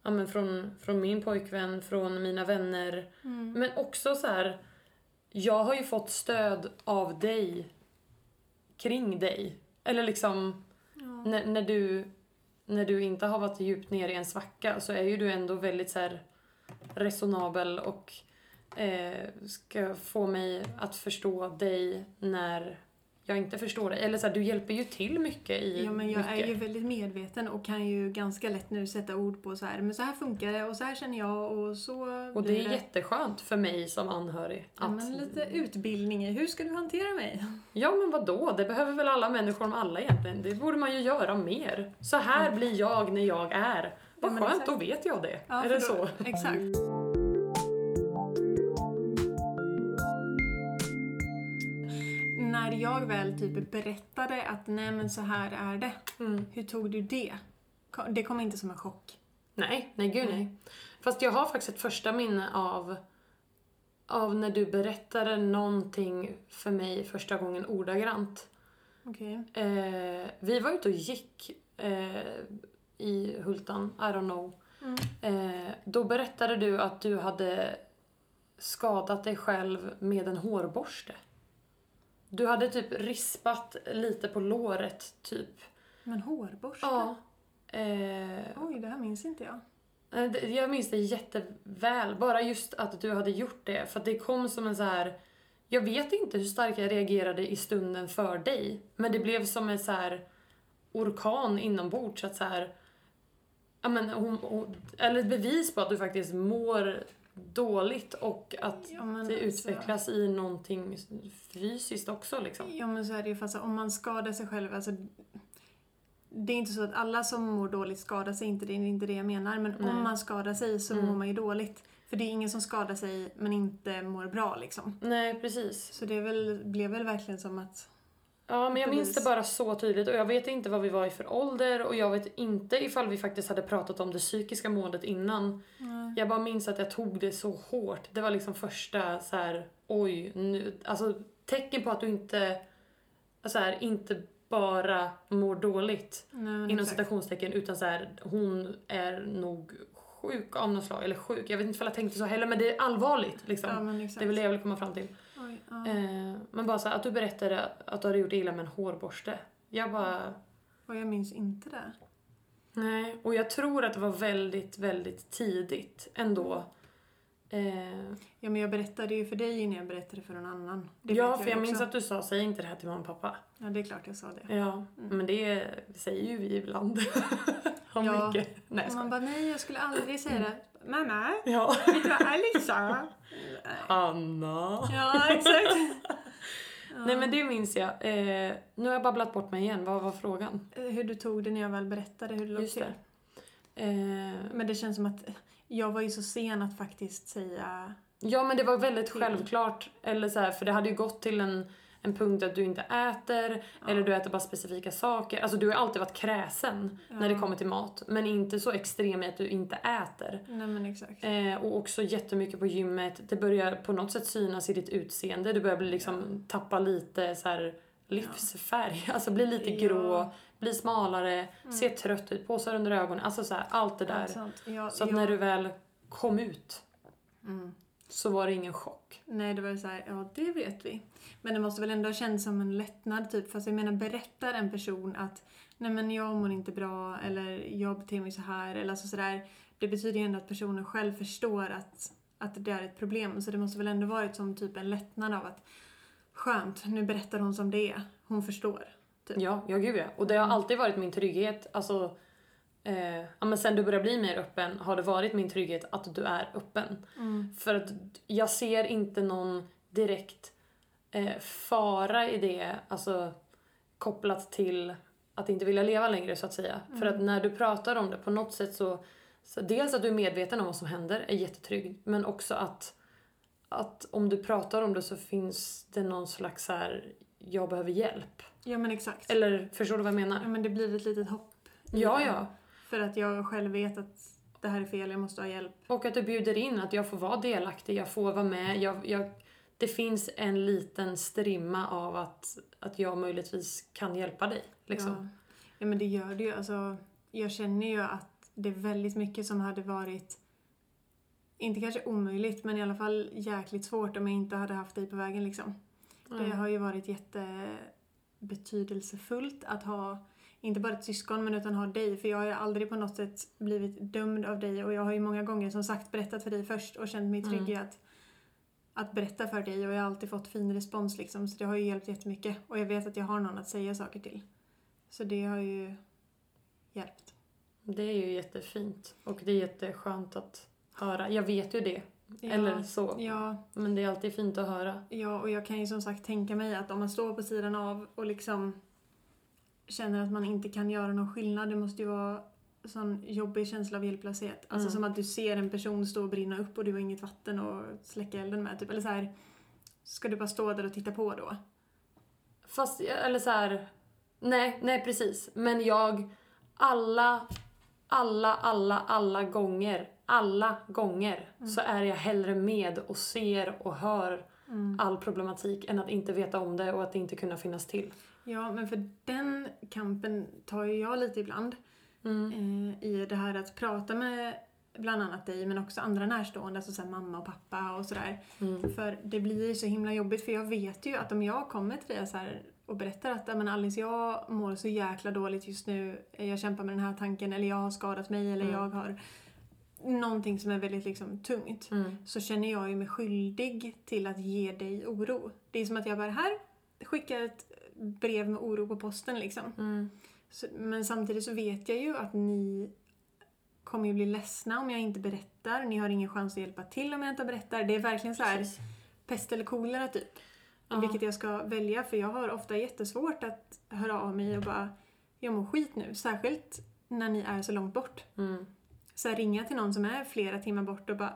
S2: ja, men från, från min pojkvän, från mina vänner.
S1: Mm.
S2: Men också så här, jag har ju fått stöd av dig kring dig. Eller liksom,
S1: Ja.
S2: när, när, du, när du inte har varit djupt nere i en svacka så är ju du ändå väldigt så här resonabel och eh, ska få mig att förstå dig när jag inte förstår dig. Eller så här, du hjälper ju till mycket i
S1: Ja, men jag
S2: mycket.
S1: är ju väldigt medveten och kan ju ganska lätt nu sätta ord på så här, men så här funkar det och så här känner jag och så
S2: Och
S1: blir
S2: det är jätteskönt för mig som anhörig.
S1: Ja,
S2: Att,
S1: men lite utbildning i hur ska du hantera mig?
S2: Ja men vadå, det behöver väl alla människor om alla egentligen. Det borde man ju göra mer. Så här blir jag när jag är. Vad
S1: Ja, men
S2: skönt,
S1: exakt.
S2: då vet jag det.
S1: Ja,
S2: är
S1: för
S2: det
S1: då-
S2: så?
S1: Exakt. När jag väl typ berättade att nej men så här är det,
S2: Mm.
S1: hur tog du det? Ko- Det kom inte som en chock.
S2: Nej, nej gud nej. Fast jag har faktiskt ett första minne av, av när du berättade någonting för mig första gången ordagrant.
S1: Okej.
S2: Eh, vi var ute och gick eh, i Hultan, I don't know.
S1: Mm.
S2: Eh, då berättade du att du hade skadat dig själv med en hårborste. Du hade typ rispat lite på låret, typ.
S1: Men hårborste?
S2: Ja. Eh,
S1: Oj, det här minns inte jag.
S2: Nej, det- Jag minns det jätteväl. Bara just att du hade gjort det. För att det kom som en så här... Jag vet inte hur starkt jag reagerade i stunden för dig. Men det blev som en så här orkan inombords. så Att så här, ja, men hon, hon, eller ett bevis på att du faktiskt mår dåligt och att
S1: Ja, men
S2: det
S1: alltså-
S2: utvecklas i någonting fysiskt också. Liksom.
S1: Ja men så är det ju fast om man skadar sig själv, alltså det är inte så att alla som mår dåligt skadar sig inte, det är inte det jag menar. Men
S2: Nej. Mm.
S1: om man skadar sig så mår man ju dåligt. För det är ingen som skadar sig men inte mår bra liksom.
S2: Nej, precis.
S1: Så det är väl, blev väl verkligen som att...
S2: Ja, men jag minns
S1: Bevis.
S2: det bara så tydligt och jag vet inte vad vi var i för ålder och jag vet inte ifall vi faktiskt hade pratat om det psykiska måendet innan. Jag bara minns att jag tog det så hårt. Det var liksom första så här, oj, nu, alltså tecken på att du inte, så här, inte bara mår dåligt
S1: Nej, men
S2: inom
S1: exakt.
S2: citationstecken utan så här, hon är nog sjuk av något slag, eller sjuk, jag vet inte ifall jag tänkte så heller men det är allvarligt liksom.
S1: Ja, men exakt.
S2: det är väl det jag vill komma fram till.
S1: Oj, ja.
S2: Eh, men bara så här, att du berättade att du hade gjort illa med en hårborste. Jag bara,
S1: Och jag minns inte det.
S2: nej. Och jag tror att det var väldigt, väldigt tidigt ändå. Eh,
S1: Ja men jag berättade ju för dig innan jag berättade för någon annan. Det
S2: ja,
S1: vet
S2: för jag minns
S1: också.
S2: att du sa, säg inte det här till mamma och pappa.
S1: Ja, det är klart jag sa det. Mm.
S2: Ja, men det säger ju vi ibland. Om
S1: Ja.
S2: mycket. Nej,
S1: Och man
S2: jag skojar. Mm.
S1: bara, nej jag skulle aldrig säga det. Mamma,
S2: Ja.
S1: vet du vad Alice sa?
S2: Anna.
S1: Ja, exakt.
S2: Nej men det minns jag. Eh, nu har jag babblat bort mig igen, vad var frågan?
S1: Eh, Hur du tog det när jag väl berättade hur det låg
S2: Just
S1: till.
S2: det. Eh,
S1: Men det känns som att jag var ju så sen att faktiskt säga...
S2: Ja men det var väldigt självklart. Eller så här, för det hade ju gått till en, en punkt att du inte äter eller du äter bara specifika saker. Alltså du har alltid varit kräsen när det kommer till mat. Men inte så extrem i att du inte äter.
S1: Nej men exakt.
S2: Eh, och också jättemycket på gymmet. Det börjar på något sätt synas i ditt utseende. Du börjar bli liksom tappa lite så här livsfärg. Alltså bli lite
S1: Ja. Mm.
S2: grå, bli smalare, se trött ut, påsar under ögonen. Alltså så här, allt det där.
S1: Allt sånt. Jag,
S2: Så att
S1: jag,
S2: när du väl kom ut
S1: Mm.
S2: så var det ingen chock.
S1: Nej, det var ju så här, ja det vet vi. Men det måste väl ändå kännas som en lättnad typ. Fast jag menar, berättar en person att nej men jag mår inte bra eller jag beter mig så här eller alltså sådär. Det betyder ju ändå att personen själv förstår att, att det där är ett problem. Så det måste väl ändå varit som typ en lättnad av att skönt, nu berättar hon som det är. Hon förstår. Typ.
S2: Ja, ja gud ja. Och det har alltid varit min trygghet. Alltså, eh, ja, men sen du började bli mer öppen har det varit min trygghet att du är öppen. För att jag ser inte någon direkt eh, fara i det, alltså kopplat till att inte vilja leva längre så att säga. För att när du pratar om det på något sätt så, så dels att du är medveten om vad som händer är jättetrygg, men också att att om du pratar om det så finns det någon slags så här, jag behöver hjälp.
S1: Ja men exakt. Mm.
S2: Eller förstår du vad jag menar?
S1: Ja men det blir ett litet hopp. i
S2: Ja,
S1: det.
S2: ja.
S1: För att jag själv vet att det här är fel, jag måste ha hjälp.
S2: Och att du bjuder in, att jag får vara delaktig, jag får vara med. Jag, jag, det finns en liten strimma av att, att jag möjligtvis kan hjälpa dig. Liksom.
S1: Ja. ja men det gör det ju. Alltså, jag känner ju att det är väldigt mycket som hade varit, inte kanske omöjligt, men i alla fall jäkligt svårt om jag inte hade haft dig på vägen liksom.
S2: Mm.
S1: Det har ju varit jättebetydelsefullt att ha, inte bara ett syskon, men utan ha dig. För jag har ju aldrig på något sätt blivit dömd av dig och jag har ju många gånger som sagt berättat för dig först och känt mig trygg i
S2: Mm.
S1: att, att berätta för dig och jag har alltid fått fin respons liksom. Så det har ju hjälpt jättemycket och jag vet att jag har någon att säga saker till. Så det har ju hjälpt.
S2: Det är ju jättefint. Och det är jätteskönt att höra. Jag vet ju det. Eller så.
S1: Ja,
S2: Men det är alltid fint att höra.
S1: Ja, och jag kan ju som sagt tänka mig att om man står på sidan av och liksom känner att man inte kan göra någon skillnad, det måste ju vara sån jobbig känsla av hjälplöshet. Alltså
S2: Mm.
S1: som att du ser en person stå och brinna upp och du har inget vatten och släcka elden med. Typ. Eller så här, ska du bara stå där och titta på då?
S2: Fast, eller så här. Nej, nej precis. Men jag, alla, alla, alla, alla gånger, alla gånger
S1: Mm.
S2: så är jag hellre med och ser och hör
S1: Mm.
S2: all problematik än att inte veta om det och att inte kunna finnas till.
S1: Ja, men för den kampen tar ju jag lite ibland. Eh, I det här att prata med bland annat dig men också andra närstående, alltså så här mamma och pappa och sådär.
S2: Mm.
S1: För det blir ju så himla jobbigt för jag vet ju att om jag kommer till dig så här och berättar att "Ja, men Alice jag mår så jäkla dåligt just nu, Eh, jag kämpar med den här tanken eller jag har skadat mig eller jag har någonting som är väldigt liksom tungt
S2: Mm.
S1: så känner jag ju mig skyldig till att ge dig oro. Det är som att jag bara här skickar ett brev med oro på posten liksom.
S2: Mm.
S1: Så, men samtidigt så vet jag ju att ni kommer ju bli ledsna om jag inte berättar. Ni har ingen chans att hjälpa till om jag inte berättar. Det är verkligen så här
S2: Precis.
S1: pest eller kolera typ.
S2: Ja.
S1: Vilket jag ska välja för jag har ofta jättesvårt att höra av mig och bara jag mår skit nu. Särskilt när ni är så långt bort.
S2: Mm.
S1: Så här, ringa till någon som är flera timmar bort och bara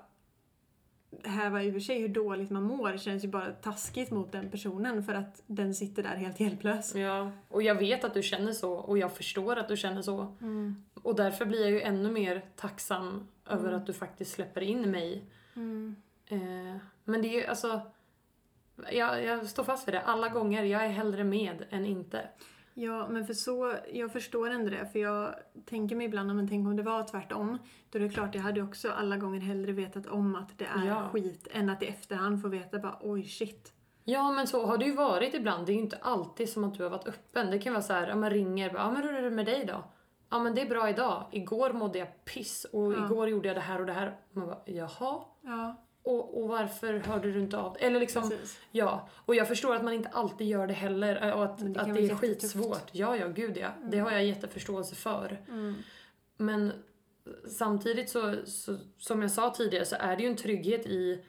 S1: häva ur sig hur dåligt man mår Det känns ju bara taskigt mot den personen för att den sitter där helt hjälplös.
S2: Ja, och jag vet att du känner så och jag förstår att du känner så. Och därför blir jag ju ännu mer tacksam över
S1: Mm.
S2: att du faktiskt släpper in mig. Eh, men det är ju alltså... Jag, jag står fast vid det. Alla gånger. Jag är hellre med än inte.
S1: Ja, men för så, jag förstår ändå det, för jag tänker mig ibland, men tänk om det var tvärtom. Då är det klart, jag hade ju också alla gånger hellre vetat om att det är
S2: Ja.
S1: skit än att i efterhand få veta bara oj shit.
S2: Ja, men så har det ju varit ibland. Det är ju inte alltid som att du har varit öppen. Det kan vara så här, ja man ringer bara, ja men hur är det med dig då? Ja men det är bra idag. Igår mådde jag piss och
S1: Ja.
S2: igår gjorde jag det här och det här. Man bara, jaha?
S1: Ja,
S2: Och, och varför hörde du inte av Eller liksom,
S1: precis.
S2: Ja, och jag förstår att man inte alltid gör det heller äh, och att
S1: Men det
S2: det,
S1: kan vara
S2: att det är
S1: jättetufft.
S2: skitsvårt. Ja, ja, gud ja. Det har jag jätteförståelse för.
S1: Mm.
S2: Men samtidigt så, så, som jag sa tidigare, så är det ju en trygghet i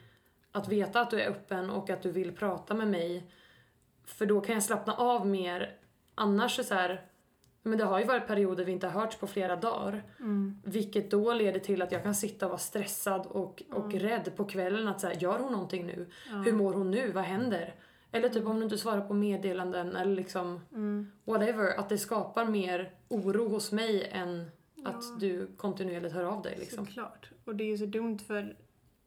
S2: att veta att du är öppen och att du vill prata med mig. För då kan jag slappna av mer. Annars är så här, men det har ju varit perioder vi inte har hörts på flera dagar.
S1: Mm.
S2: Vilket då leder till att jag kan sitta och vara stressad och, och rädd på kvällen. Att så här, gör hon någonting nu?
S1: Ja.
S2: Hur mår hon nu? Vad händer? Eller typ om du inte svarar på meddelanden eller liksom
S1: Mm.
S2: whatever. Att det skapar mer oro hos mig än
S1: Ja.
S2: att du kontinuerligt hör av dig liksom.
S1: Såklart. Och det är ju så dumt för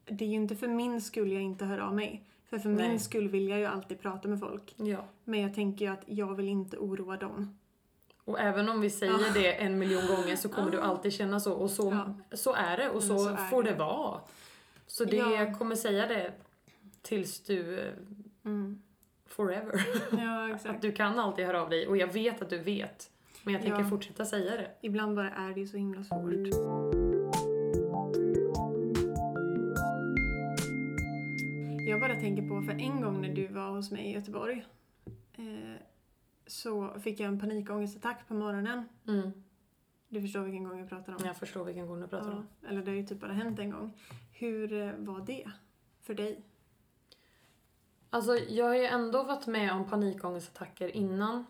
S1: det är ju inte för min skull jag inte hör av mig. För för
S2: Nej.
S1: min skull vill jag ju alltid prata med folk.
S2: Ja.
S1: Men jag tänker ju att jag vill inte oroa dem.
S2: Och även om vi säger
S1: Ja.
S2: det en miljon gånger så kommer du alltid känna så. Och så, så är det och
S1: Men
S2: så,
S1: så är
S2: får
S1: det.
S2: det vara. Så det,
S1: Ja.
S2: jag kommer säga det tills du eh,
S1: Mm.
S2: forever.
S1: Ja,
S2: Att
S1: exakt.
S2: du kan alltid höra av dig och jag vet att du vet. Men jag tänker
S1: Ja.
S2: fortsätta säga det.
S1: Ibland bara är det ju så himla svårt. Jag bara tänker på, för en gång när du var hos mig i Göteborg eh, så fick jag en panikångestattack på morgonen.
S2: Mm.
S1: Du förstår vilken gång jag pratar om.
S2: Jag förstår vilken gång du pratar om.
S1: Ja, eller det har ju typ bara hänt en gång. Hur eh, var det för dig?
S2: Alltså jag har ju ändå varit med om panikångestattacker innan.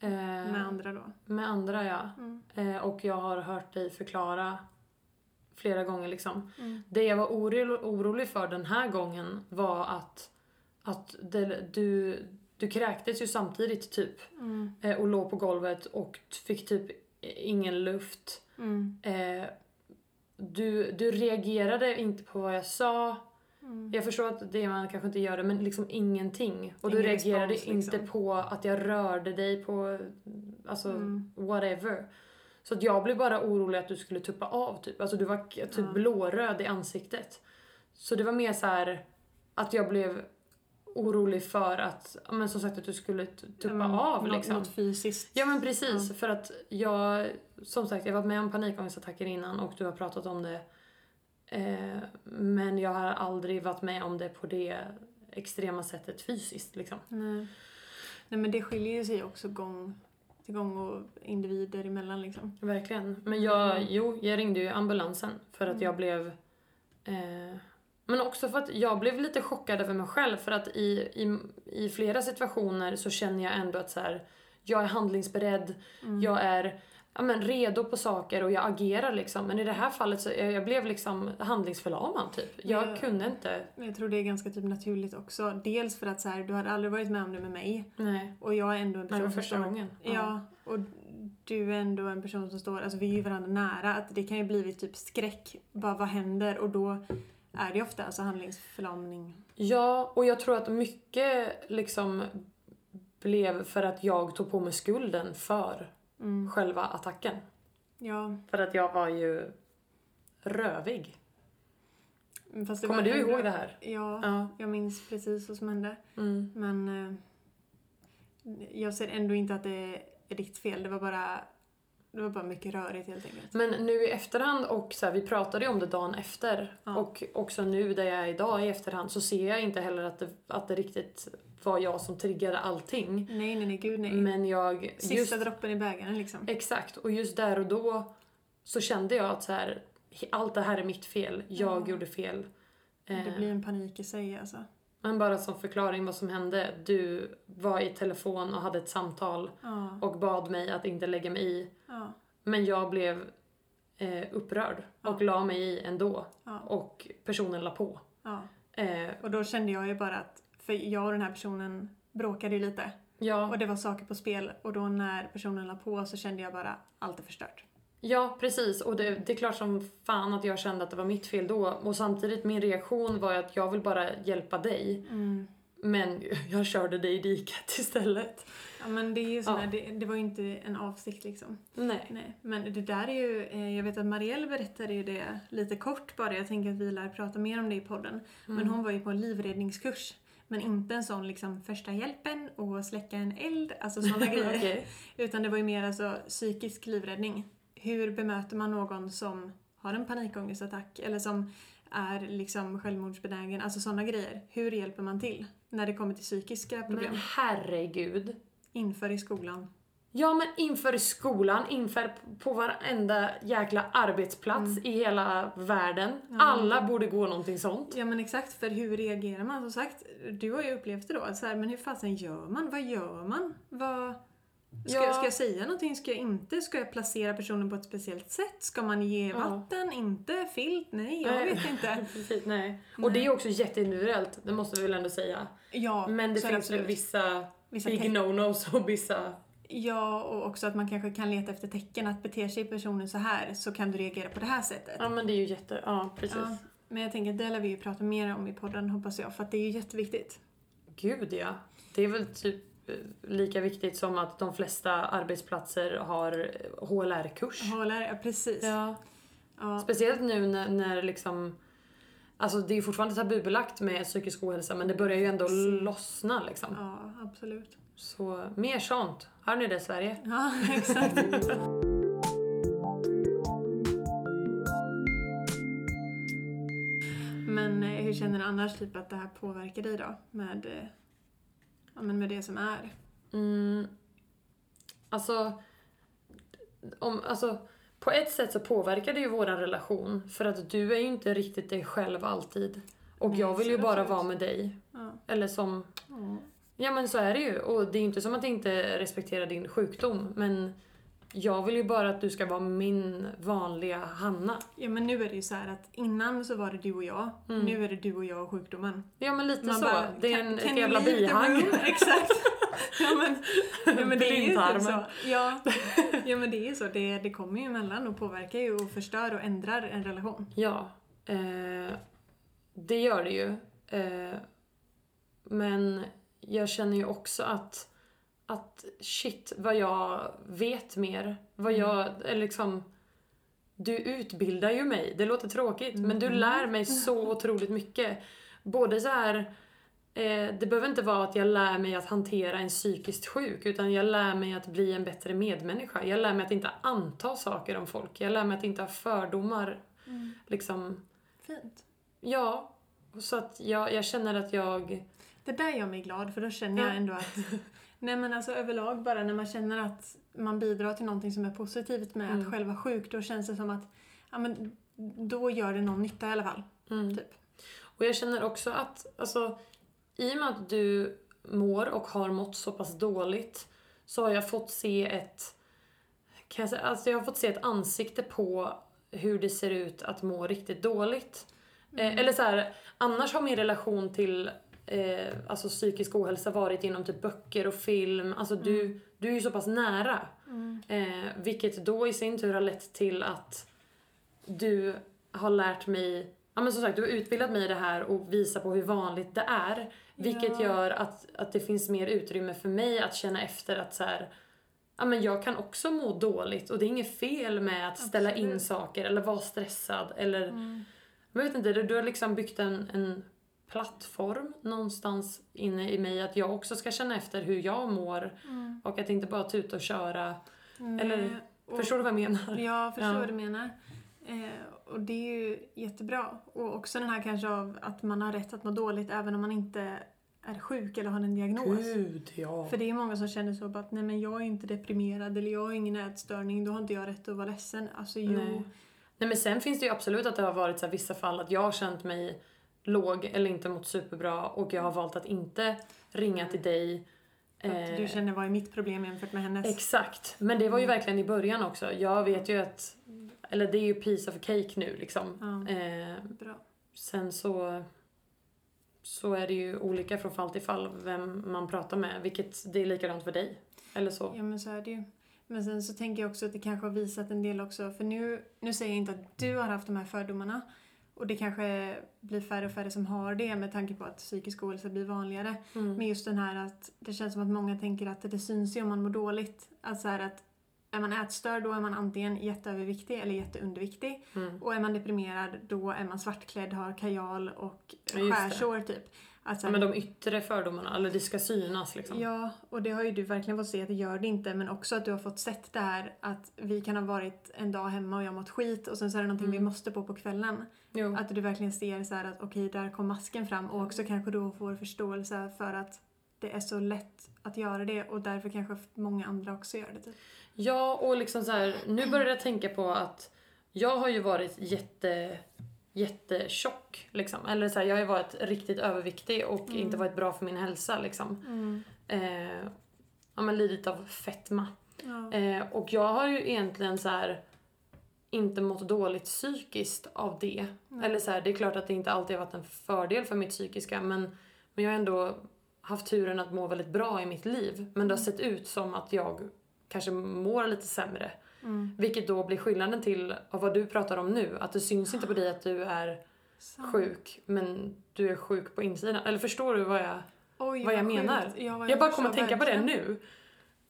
S2: Eh,
S1: Med andra då?
S2: Med andra ja.
S1: Mm.
S2: Eh, och jag har hört dig förklara flera gånger liksom.
S1: Mm.
S2: Det jag var orolig, orolig för den här gången var att, att det, du, du kräktes ju samtidigt typ
S1: Mm.
S2: eh, och låg på golvet och t- fick typ ingen luft.
S1: Mm.
S2: Eh, Du, du reagerade inte på vad jag sa.
S1: Mm.
S2: Jag förstår att det man kanske inte gör det, men liksom ingenting. Och du
S1: Ingen
S2: reagerade
S1: respons,
S2: inte
S1: liksom.
S2: på att jag rörde dig på, alltså
S1: Mm.
S2: whatever. Så att jag blev bara orolig att du skulle tuppa av typ. Alltså du var k- typ
S1: Ja.
S2: blåröd i ansiktet. Så det var mer så här att jag blev orolig för att, ja, men som sagt att du skulle t-
S1: Ja,
S2: tuppa
S1: men
S2: av
S1: något,
S2: liksom.
S1: Något fysiskt.
S2: Ja men precis, för att jag, som sagt jag har varit med om panikångestattacker innan och du har pratat om det. Eh, men jag har aldrig varit med om det på det extrema sättet fysiskt liksom.
S1: Nej. Nej men det skiljer ju sig också gång till gång och individer emellan liksom.
S2: Verkligen. Men jag,
S1: Mm.
S2: jo, jag ringde ju ambulansen för att
S1: Mm.
S2: jag blev... Eh, men också för att jag blev lite chockad över mig själv för att i, i, i flera situationer så känner jag ändå att så här, jag är handlingsberedd,
S1: Mm.
S2: jag är ja, men, redo på saker och jag agerar liksom. Men i det här fallet så jag, jag blev liksom handlingsförlamad typ. Jag
S1: Ja.
S2: kunde inte.
S1: Men Jag tror det är ganska typ naturligt också. Dels för att så här, du hade aldrig varit med om det med mig
S2: Nej,
S1: och jag är ändå en
S2: Nej, det var
S1: person
S2: första
S1: som-
S2: gången.
S1: Ja, och du är ändå en person som står, alltså vi är ju varandra nära, att det kan ju blivit typ skräck, bara vad händer? Och då är det ofta alltså handlingsförlamning.
S2: Ja, och jag tror att mycket liksom blev för att jag tog på mig skulden för
S1: Mm.
S2: själva attacken.
S1: Ja,
S2: För att jag var ju rövig.
S1: men fast det
S2: Kommer
S1: var
S2: du
S1: ändå-
S2: ihåg det här?
S1: Ja,
S2: Ja.
S1: jag minns precis vad som hände.
S2: Mm.
S1: Men eh, jag ser ändå inte att det är ditt fel, det var bara, det var bara mycket rörigt helt enkelt.
S2: Men nu i efterhand och så här, vi pratade ju om det dagen efter
S1: Ja.
S2: och också nu där jag är idag i efterhand så ser jag inte heller att det, att det riktigt var jag som triggade allting.
S1: Nej, nej, nej, gud nej.
S2: Men jag...
S1: Sista
S2: just-
S1: droppen i bägaren liksom.
S2: Exakt, och just där och då så kände jag att så här, he- allt det här är mitt fel, jag
S1: Mm.
S2: gjorde fel.
S1: Det
S2: Eh,
S1: blir en panik i sig alltså.
S2: Men bara som förklaring vad som hände, du var i telefon och hade ett samtal
S1: Ja,
S2: och bad mig att inte lägga mig i.
S1: ja,
S2: Men jag blev eh, upprörd och la mig i ändå
S1: ja,
S2: och personen la på.
S1: ja.
S2: Eh,
S1: Och då kände jag ju bara att, för jag och den här personen bråkade ju lite
S2: ja,
S1: och det var saker på spel och då när personen la på så kände jag bara, allt är förstört.
S2: ja, precis. Och det, det är klart som fan att jag kände att det var mitt fel då. Och samtidigt, min reaktion var ju att jag vill bara hjälpa dig.
S1: Mm.
S2: Men jag körde dig i diket istället.
S1: Ja men det är ju sådär,
S2: Ja.
S1: det, det var ju inte en avsikt liksom.
S2: Nej.
S1: Nej, men det där är ju, eh, jag vet att Marielle berättade ju det lite kort bara, jag tänker att vi lär prata mer om det i podden. Men hon var ju på en livräddningskurs. Men inte en sån liksom första hjälpen och släcka en eld, alltså sådana grejer.
S2: Okej.
S1: Utan det var ju mer alltså psykisk livräddning. Hur bemöter man någon som har en panikångestattack eller som är liksom självmordsbenägen, alltså sådana grejer. Hur hjälper man till när det kommer till psykiska problem?
S2: Men herregud.
S1: Inför i skolan.
S2: Ja men inför skolan, inför på varenda jäkla arbetsplats
S1: Mm.
S2: i hela världen. Alla borde gå någonting sånt.
S1: Ja men exakt, för hur reagerar man? Som sagt, du har ju upplevt det då. Så här, men hur fasen gör man? Vad gör man? Vad... Ska,
S2: Ja.
S1: jag, ska jag säga någonting? Ska jag inte? Ska jag placera personen på ett speciellt sätt? Ska man ge
S2: Ja.
S1: vatten? Inte? Filt? Nej, jag
S2: Nej.
S1: vet inte.
S2: Precis, nej. Och det är också jätteindividuellt, det måste vi väl ändå säga.
S1: Ja,
S2: Men det
S1: så är
S2: finns väl
S1: absolut.
S2: vissa,
S1: Vissa
S2: big
S1: tecken.
S2: no-nos och vissa...
S1: Ja, och också att man kanske kan leta efter tecken. Att beter sig personen så här så kan du reagera på det här sättet.
S2: Ja men det är ju jätte... Ja precis.
S1: Ja, men jag tänker att det lär vi ju prata mer om i podden hoppas jag, för att det är ju jätteviktigt.
S2: Gud ja. Det är väl typ eh, lika viktigt som att de flesta arbetsplatser har eh, HLR-kurs.
S1: Håller, ja precis.
S2: Ja.
S1: Ja.
S2: Speciellt nu när, när liksom... Alltså det är ju fortfarande tabubelagt med psykisk ohälsa men det börjar ju ändå lossna liksom.
S1: ja, absolut.
S2: Så mer sånt. Hör ni det Sverige?
S1: Ja, exakt. men eh, hur känner du annars typ att det här påverkar dig då? Med, eh, ja, men med det som är?
S2: Mm. Alltså, om, alltså... På ett sätt så påverkar det ju våran relation för att du är ju inte riktigt dig själv alltid. Och
S1: Nej,
S2: jag vill
S1: så
S2: ju
S1: är det
S2: bara
S1: absolut.
S2: vara med dig.
S1: Ja.
S2: Eller som Ja men så är det ju och det är ju inte som att jag inte respekterar din sjukdom men jag vill ju bara att du ska vara min vanliga Hanna.
S1: ja, men nu är det ju så här att innan så var det du och jag. Nu är det du och jag och sjukdomen.
S2: Ja men Mm. lite så.
S1: bara,
S2: det är
S1: "Can-
S2: en,
S1: can
S2: ett
S1: you
S2: jävla
S1: leave the
S2: bihang.
S1: room?" Exakt. Ja men, ja, men det är ju typ så.
S2: Blindtarmen.
S1: Ja. ja men det är ju så. Det, det kommer ju emellan och påverkar ju och förstör och ändrar en relation.
S2: Ja. Eh, det gör det ju. Eh, men jag känner ju också att, att shit vad jag vet mer. Vad jag, eller liksom du utbildar ju mig. Det låter tråkigt men du lär mig så otroligt mycket. Både så här eh, det behöver inte vara att jag lär mig att hantera en psykiskt sjuk utan jag lär mig att bli en bättre medmänniska. Jag lär mig att inte anta saker om folk. Jag lär mig att inte ha fördomar. Liksom,
S1: Fint.
S2: ja. Så att jag, jag känner att jag...
S1: Det där gör mig glad för då känner
S2: Ja.
S1: jag ändå att Nej men alltså överlag bara när man känner att man bidrar till någonting som är positivt med att själv vara sjuk då känns det som att ja, men, då gör det någon nytta i alla fall. Typ.
S2: mm, Och jag känner också att, alltså, i och med att du mår och har mått så pass dåligt så har jag fått se ett, kan jag, säga, alltså jag har fått se ett ansikte på hur det ser ut att må riktigt dåligt. Eh, eller så här, annars har min relation till eh, alltså psykisk ohälsa varit genom typ böcker och film. Alltså du, du är ju så pass nära.
S1: Mm,
S2: Eh, vilket då i sin tur har lett till att du har lärt mig, ja men som sagt du har utbildat mig i det här och visat på hur vanligt det är. Vilket
S1: Ja.
S2: gör att, att det finns mer utrymme för mig att känna efter att så här, ja men jag kan också må dåligt och det är inget fel med att ställa in
S1: Absolut. Mm.
S2: saker eller vara stressad eller men jag vet inte, du, du har liksom byggt en, en plattform någonstans inne i mig att jag också ska känna efter hur jag mår och att inte bara tuta och köra. Eller,
S1: mm. och-
S2: förstår du vad jag menar?
S1: Ja, jag förstår
S2: Ja.
S1: vad du menar. Eh, och det är ju jättebra. Och också den här kanske av att man har rätt att må dåligt även om man inte är sjuk eller har en diagnos.
S2: Gud, ja.
S1: För det är många som känner så bara att nej men jag är inte deprimerad eller jag har ingen ätstörning, då har inte jag rätt att vara ledsen. Alltså jo.
S2: Nej. Nej men sen finns det ju absolut att det har varit så här vissa fall att jag har känt mig låg eller inte mått superbra och jag har valt att inte ringa till dig.
S1: Att du Mm.
S2: Eh,
S1: känner vad är mitt problem jämfört med hennes.
S2: Exakt, men det var ju verkligen i början också. Jag vet ju att, eller det är ju piece of cake nu liksom.
S1: Ja.
S2: Eh,
S1: Bra.
S2: Sen så, så är det ju olika från fall till fall vem man pratar med, vilket det är likadant för dig. Eller så.
S1: Ja men så är det ju. Men sen så tänker jag också att det kanske har visat en del också. För nu, nu säger jag inte att du har haft de här fördomarna. Och det kanske blir färre och färre som har det med tanke på att psykisk ohälsa blir vanligare.
S2: Mm.
S1: Men just den här att det känns som att många tänker att det syns ju om man mår dåligt. Alltså här att är man ätstörd då är man antingen jätteöverviktig eller jätteunderviktig.
S2: Mm.
S1: Och är man deprimerad då är man svartklädd, har kajal och
S2: Ja, just det.
S1: skärsår typ. Alltså,
S2: Ja, men de yttre fördomarna, eller det ska synas liksom.
S1: Ja, och det har ju du verkligen fått se att det gör det inte. Men också att du har fått sett det här att vi kan ha varit en dag hemma och jag har mått skit och sen så är det någonting
S2: Mm.
S1: vi måste på på kvällen.
S2: Jo. Mm.
S1: Att du verkligen ser så här att okej, där kom masken fram och också kanske då får förståelse för att det är så lätt att göra det och därför kanske många andra också gör det. Typ.
S2: Ja, och liksom så här, nu börjar jag tänka på att jag har ju varit jätte, jättetjock. Liksom. Eller så här, jag har ju varit riktigt överviktig och
S1: Mm.
S2: inte varit bra för min hälsa. Liksom. Eh, ja, men lidit av fetma.
S1: Ja.
S2: Eh, och jag har ju egentligen så här inte mått dåligt psykiskt av det.
S1: Nej.
S2: Eller så här, det är klart att det inte alltid har varit en fördel för mitt psykiska men, men jag har ändå haft turen att må väldigt bra i mitt liv. Men det
S1: Mm.
S2: har sett ut som att jag kanske mår lite sämre.
S1: Mm.
S2: Vilket då blir skillnaden till av vad du pratar om nu. Att det syns inte på dig att du är
S1: Sant.
S2: sjuk men du är sjuk på insidan. Eller förstår du vad jag...
S1: Oj,
S2: vad jag
S1: sjukt.
S2: menar.
S1: Ja, vad
S2: Jag bara
S1: förstår
S2: kommer att tänka på det
S1: verkligen.
S2: nu.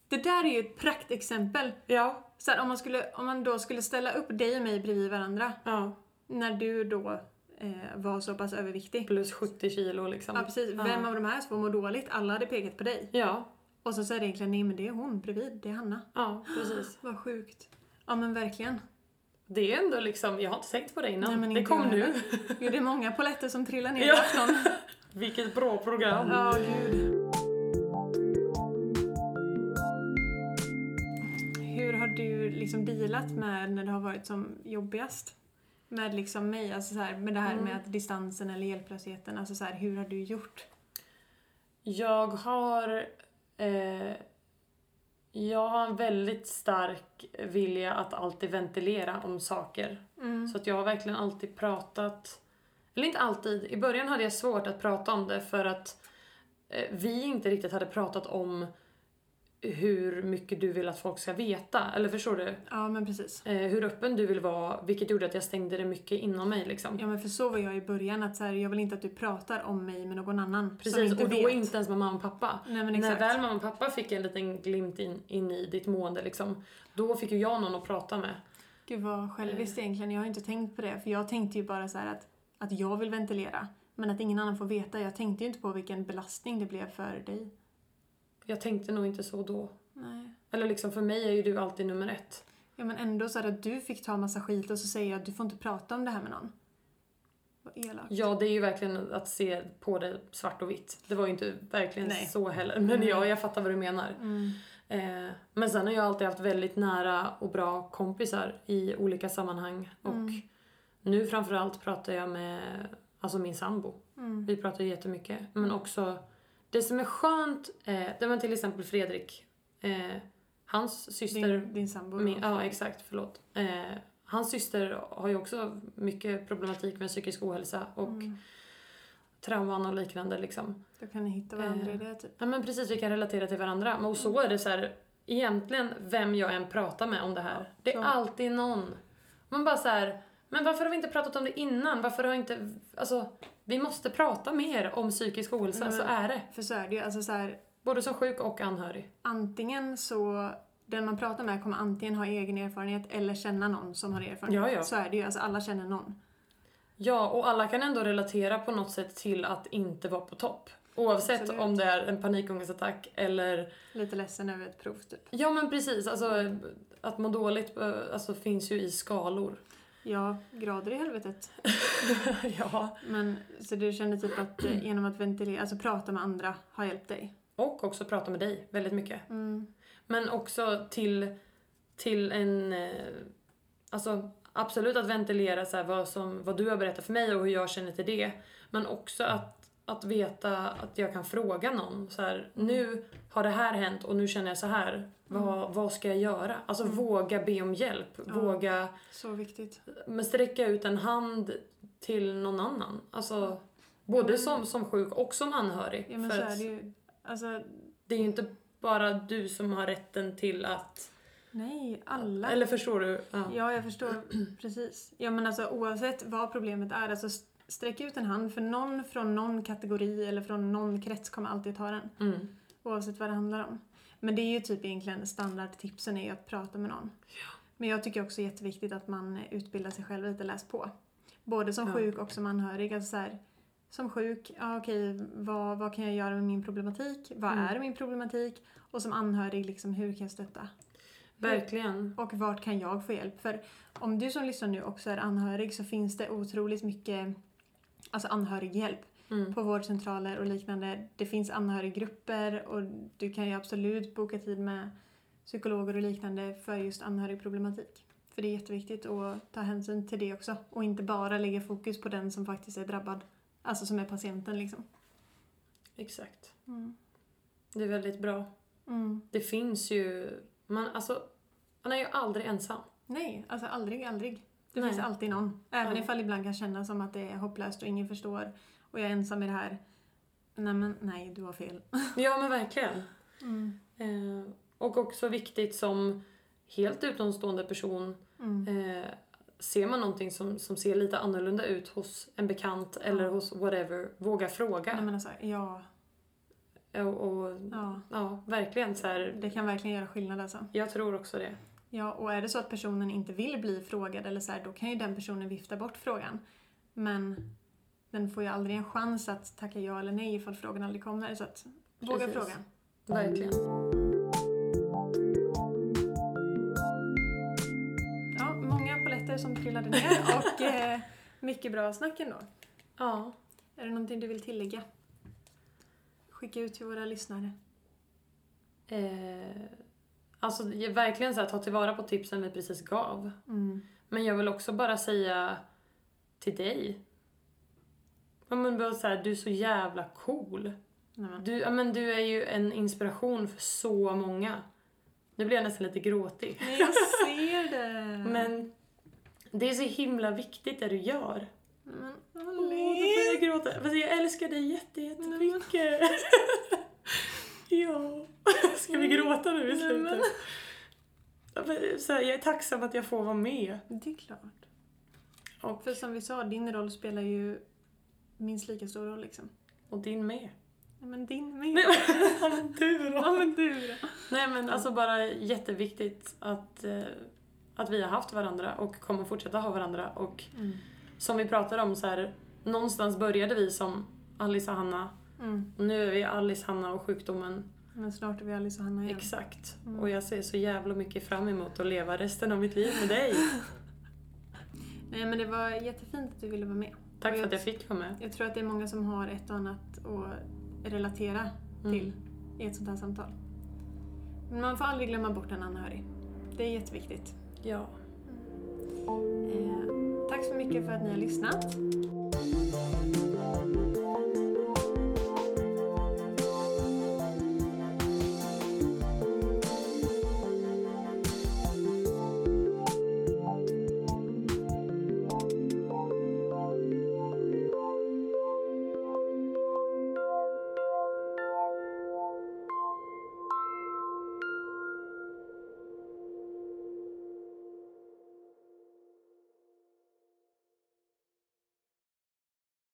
S1: Det där är ju ett praktexempel.
S2: Ja.
S1: Så här, om, man skulle, om man då skulle ställa upp dig och mig bredvid varandra
S2: ja.
S1: när du då eh, var så pass överviktig.
S2: Plus 70 kilo liksom.
S1: Ja precis, vem av de här två mår dåligt? Alla hade pekat på dig.
S2: Ja,
S1: Och så säger det egentligen nej men det är hon bredvid, det är Hanna.
S2: ja precis.
S1: Vad sjukt. Ja men verkligen.
S2: Det är ändå liksom, jag har inte tänkt på det
S1: Nej,
S2: innan.
S1: men
S2: det
S1: inte
S2: kom
S1: jag
S2: nu.
S1: Gud, det är många poletter som trillar ner
S2: Ja.
S1: i afton.
S2: Vilket bra program.
S1: Ja, gud. Hur har du liksom dealat med när det har varit som jobbigast? Med liksom mig, alltså så här, med det här
S2: Mm.
S1: med att distansen eller hjälplösheten. Alltså så här, hur har du gjort?
S2: Jag har... Eh, jag har en väldigt stark vilja att alltid ventilera om saker. Så att jag har verkligen alltid pratat... Eller inte alltid. I början hade jag svårt att prata om det för att eh, vi inte riktigt hade pratat om hur mycket du vill att folk ska veta. Eller förstår du?
S1: Ja, men precis.
S2: Eh, hur öppen du vill vara, vilket gjorde att jag stängde det mycket inom mig. Liksom.
S1: Ja, men för så var jag i början. Att så här, jag vill inte att du pratar om mig med någon annan. som
S2: Precis, och då
S1: vet.
S2: inte ens med mamma och pappa.
S1: Nej, men exakt.
S2: När väl mamma och pappa fick en liten glimt in, in i ditt mående liksom, då fick ju jag någon att prata med.
S1: Gud vad själviskt
S2: Eh.
S1: egentligen. Jag har inte tänkt på det. För jag tänkte ju bara så här att, att jag vill ventilera. Men att ingen annan får veta. Jag tänkte ju inte på vilken belastning det blev för dig.
S2: Jag tänkte nog inte så då.
S1: Nej.
S2: Eller liksom, för mig är ju du alltid nummer ett.
S1: Ja men ändå så här att du fick ta massa skit och så säger jag att du får inte prata om det här med någon. Vad elakt.
S2: Ja, det är ju verkligen att se på det svart och vitt. Det var ju inte verkligen
S1: Nej.
S2: så heller, men ja, jag fattar vad du menar.
S1: Mm.
S2: Eh, men sen har jag alltid haft väldigt nära och bra kompisar i olika sammanhang. Och
S1: Mm.
S2: nu framförallt pratar jag med alltså min sambo.
S1: Mm.
S2: Vi pratar ju jättemycket. Men också, det som är skönt, eh, det var till exempel Fredrik, eh, hans syster,
S1: Din, din sambo.
S2: min, ja exakt, förlåt. Eh, hans syster har ju också mycket problematik med psykisk ohälsa och
S1: Mm.
S2: trauman och liknande liksom.
S1: Då kan ni hitta
S2: Eh.
S1: varandra i det typ.
S2: Ja men precis, vi kan relatera till varandra. Men Och så är det så här, egentligen vem jag än pratar med om det här, det är
S1: så.
S2: alltid någon. Man bara så här, men varför har vi inte pratat om det innan? Varför har inte, alltså vi måste prata mer om psykisk ohälsa,
S1: Nej,
S2: så
S1: men-
S2: är det.
S1: För så är det ju. Alltså så här,
S2: Både som sjuk och anhörig.
S1: antingen så den man pratar med kommer antingen ha egen erfarenhet eller känna någon som har erfarenhet.
S2: Ja, ja.
S1: Så är det ju. Alltså alla känner någon.
S2: Ja, och alla kan ändå relatera på något sätt till att inte vara på topp. Oavsett
S1: Absolut.
S2: om det är en panikångestattack eller...
S1: Lite ledsen över ett prov typ.
S2: Ja men precis, alltså att må dåligt eh, alltså, finns ju i skalor.
S1: Ja, grader i helvetet.
S2: ja.
S1: Men så du kände typ att eh, genom att ventilera, alltså prata med andra har hjälpt dig?
S2: Och också prata med dig väldigt mycket.
S1: Mm.
S2: Men också till, till en... eh, Alltså absolut att ventilera så här, vad, som, vad du har berättat för mig och hur jag känner till det. Men också att, att veta att jag kan fråga någon. Så här, nu har det här hänt och nu känner jag så här.
S1: Mm.
S2: Vad, vad ska jag göra? Alltså våga be om hjälp. Våga
S1: Så viktigt.
S2: men sträcka ut en hand till någon annan. Alltså både som, som sjuk och som anhörig.
S1: Mm. Ja men
S2: För
S1: så
S2: att
S1: är det ju. Alltså,
S2: det är ju inte bara du som har rätten till att
S1: nej, alla.
S2: Eller förstår du? Ja.
S1: Ja, jag förstår. Precis. Ja men alltså oavsett vad problemet är, alltså st- sträck ut en hand för någon från någon kategori eller från någon krets kommer alltid ta den.
S2: Mm.
S1: Oavsett vad det handlar om. Men det är ju typ egentligen standardtipsen är ju att prata med någon. Men jag tycker också det är jätteviktigt att man eh, utbildar sig själv lite, läs på. Både som
S2: Ja.
S1: sjuk och som anhörig. Alltså så här, som sjuk, ja, okej, vad, vad kan jag göra med min problematik? Vad
S2: Mm.
S1: är min problematik? Och som anhörig, liksom, hur kan jag stötta?
S2: Verkligen.
S1: Och vart kan jag få hjälp? För om du som lyssnar nu också är anhörig så finns det otroligt mycket alltså anhörighjälp.
S2: Mm.
S1: på vårdcentraler och liknande. Det finns anhöriggrupper och du kan ju absolut boka tid med psykologer och liknande för just anhörigproblematik. För det är jätteviktigt att ta hänsyn till det också och inte bara lägga fokus på den som faktiskt är drabbad. Alltså som är patienten liksom.
S2: Exakt.
S1: Mm.
S2: Det är väldigt bra.
S1: Mm.
S2: Det finns ju... Man, alltså, man är ju aldrig ensam.
S1: Nej, alltså aldrig, aldrig. Det
S2: Nej.
S1: finns alltid någon. Även
S2: Ja.
S1: ifall det ibland kan kännas som att det är hopplöst och ingen förstår och jag är ensam i det här. Nej men nej, du har fel.
S2: Ja, men verkligen.
S1: Mm.
S2: Eh, och också viktigt som helt utomstående person.
S1: Mm.
S2: Eh, ser man någonting som, som ser lite annorlunda ut hos en bekant eller
S1: Ja.
S2: hos whatever, våga
S1: Nej,
S2: fråga.
S1: men alltså, ja,
S2: Och, och
S1: ja,
S2: ja, verkligen så här.
S1: det kan verkligen göra skillnad alltså.
S2: Jag tror också det.
S1: Ja, och är det så att personen inte vill bli frågad eller så här, då kan ju den personen vifta bort frågan. Men den får ju aldrig en chans att tacka ja eller nej ifall frågan aldrig kommer. Så att våga
S2: Precis.
S1: frågan.
S2: Verkligen.
S1: Ja, många paletter som trillade ner och eh, mycket bra snack ändå.
S2: Ja.
S1: Är det någonting du vill tillägga? Skicka ut till våra lyssnare.
S2: Eh, alltså jag- verkligen så här, ta tillvara på tipsen vi precis gav.
S1: Mm.
S2: Men jag vill också bara säga till dig. Ja, men bara så här, du är så jävla cool.
S1: Nej, men.
S2: Du, ja, men du är ju en inspiration för så många. Nu blir jag nästan lite gråtig.
S1: Men jag ser det!
S2: Men det är så himla viktigt det du gör.
S1: Nej, men
S2: Åh, nu börjar jag
S1: Ali!
S2: gråta. Fast jag älskar dig jätte, jättemycket. ja. Ska vi gråta nu i
S1: Nej, men-
S2: slutet? Ja, men Så här, jag är tacksam att jag får vara med.
S1: Det är klart.
S2: Och,
S1: För som vi sa, din roll spelar ju minst lika stor roll liksom.
S2: och din med.
S1: Nej, men din med.
S2: Nej, ja, men du då?
S1: Ja men du då?
S2: Nej men alltså bara jätteviktigt att, eh, att vi har haft varandra och kommer fortsätta ha varandra. Och
S1: Mm.
S2: som vi pratade om så här, någonstans började vi som Alice och Hanna.
S1: Mm.
S2: Och nu är vi Alice, Hanna och sjukdomen.
S1: Men snart är vi Alice och Hanna igen.
S2: Exakt.
S1: Mm.
S2: Och jag ser så jävla mycket fram emot att leva resten av mitt liv med dig.
S1: Nej men det var jättefint att du ville vara med.
S2: Tack
S1: Och
S2: för
S1: jag-
S2: att jag fick vara med.
S1: Jag tror att det är många som har ett och annat att relatera
S2: Mm.
S1: till i ett sånt här samtal. Men man får aldrig glömma bort en anhörig. Det är jätteviktigt.
S2: Ja.
S1: Eh, tack så mycket för att ni har lyssnat.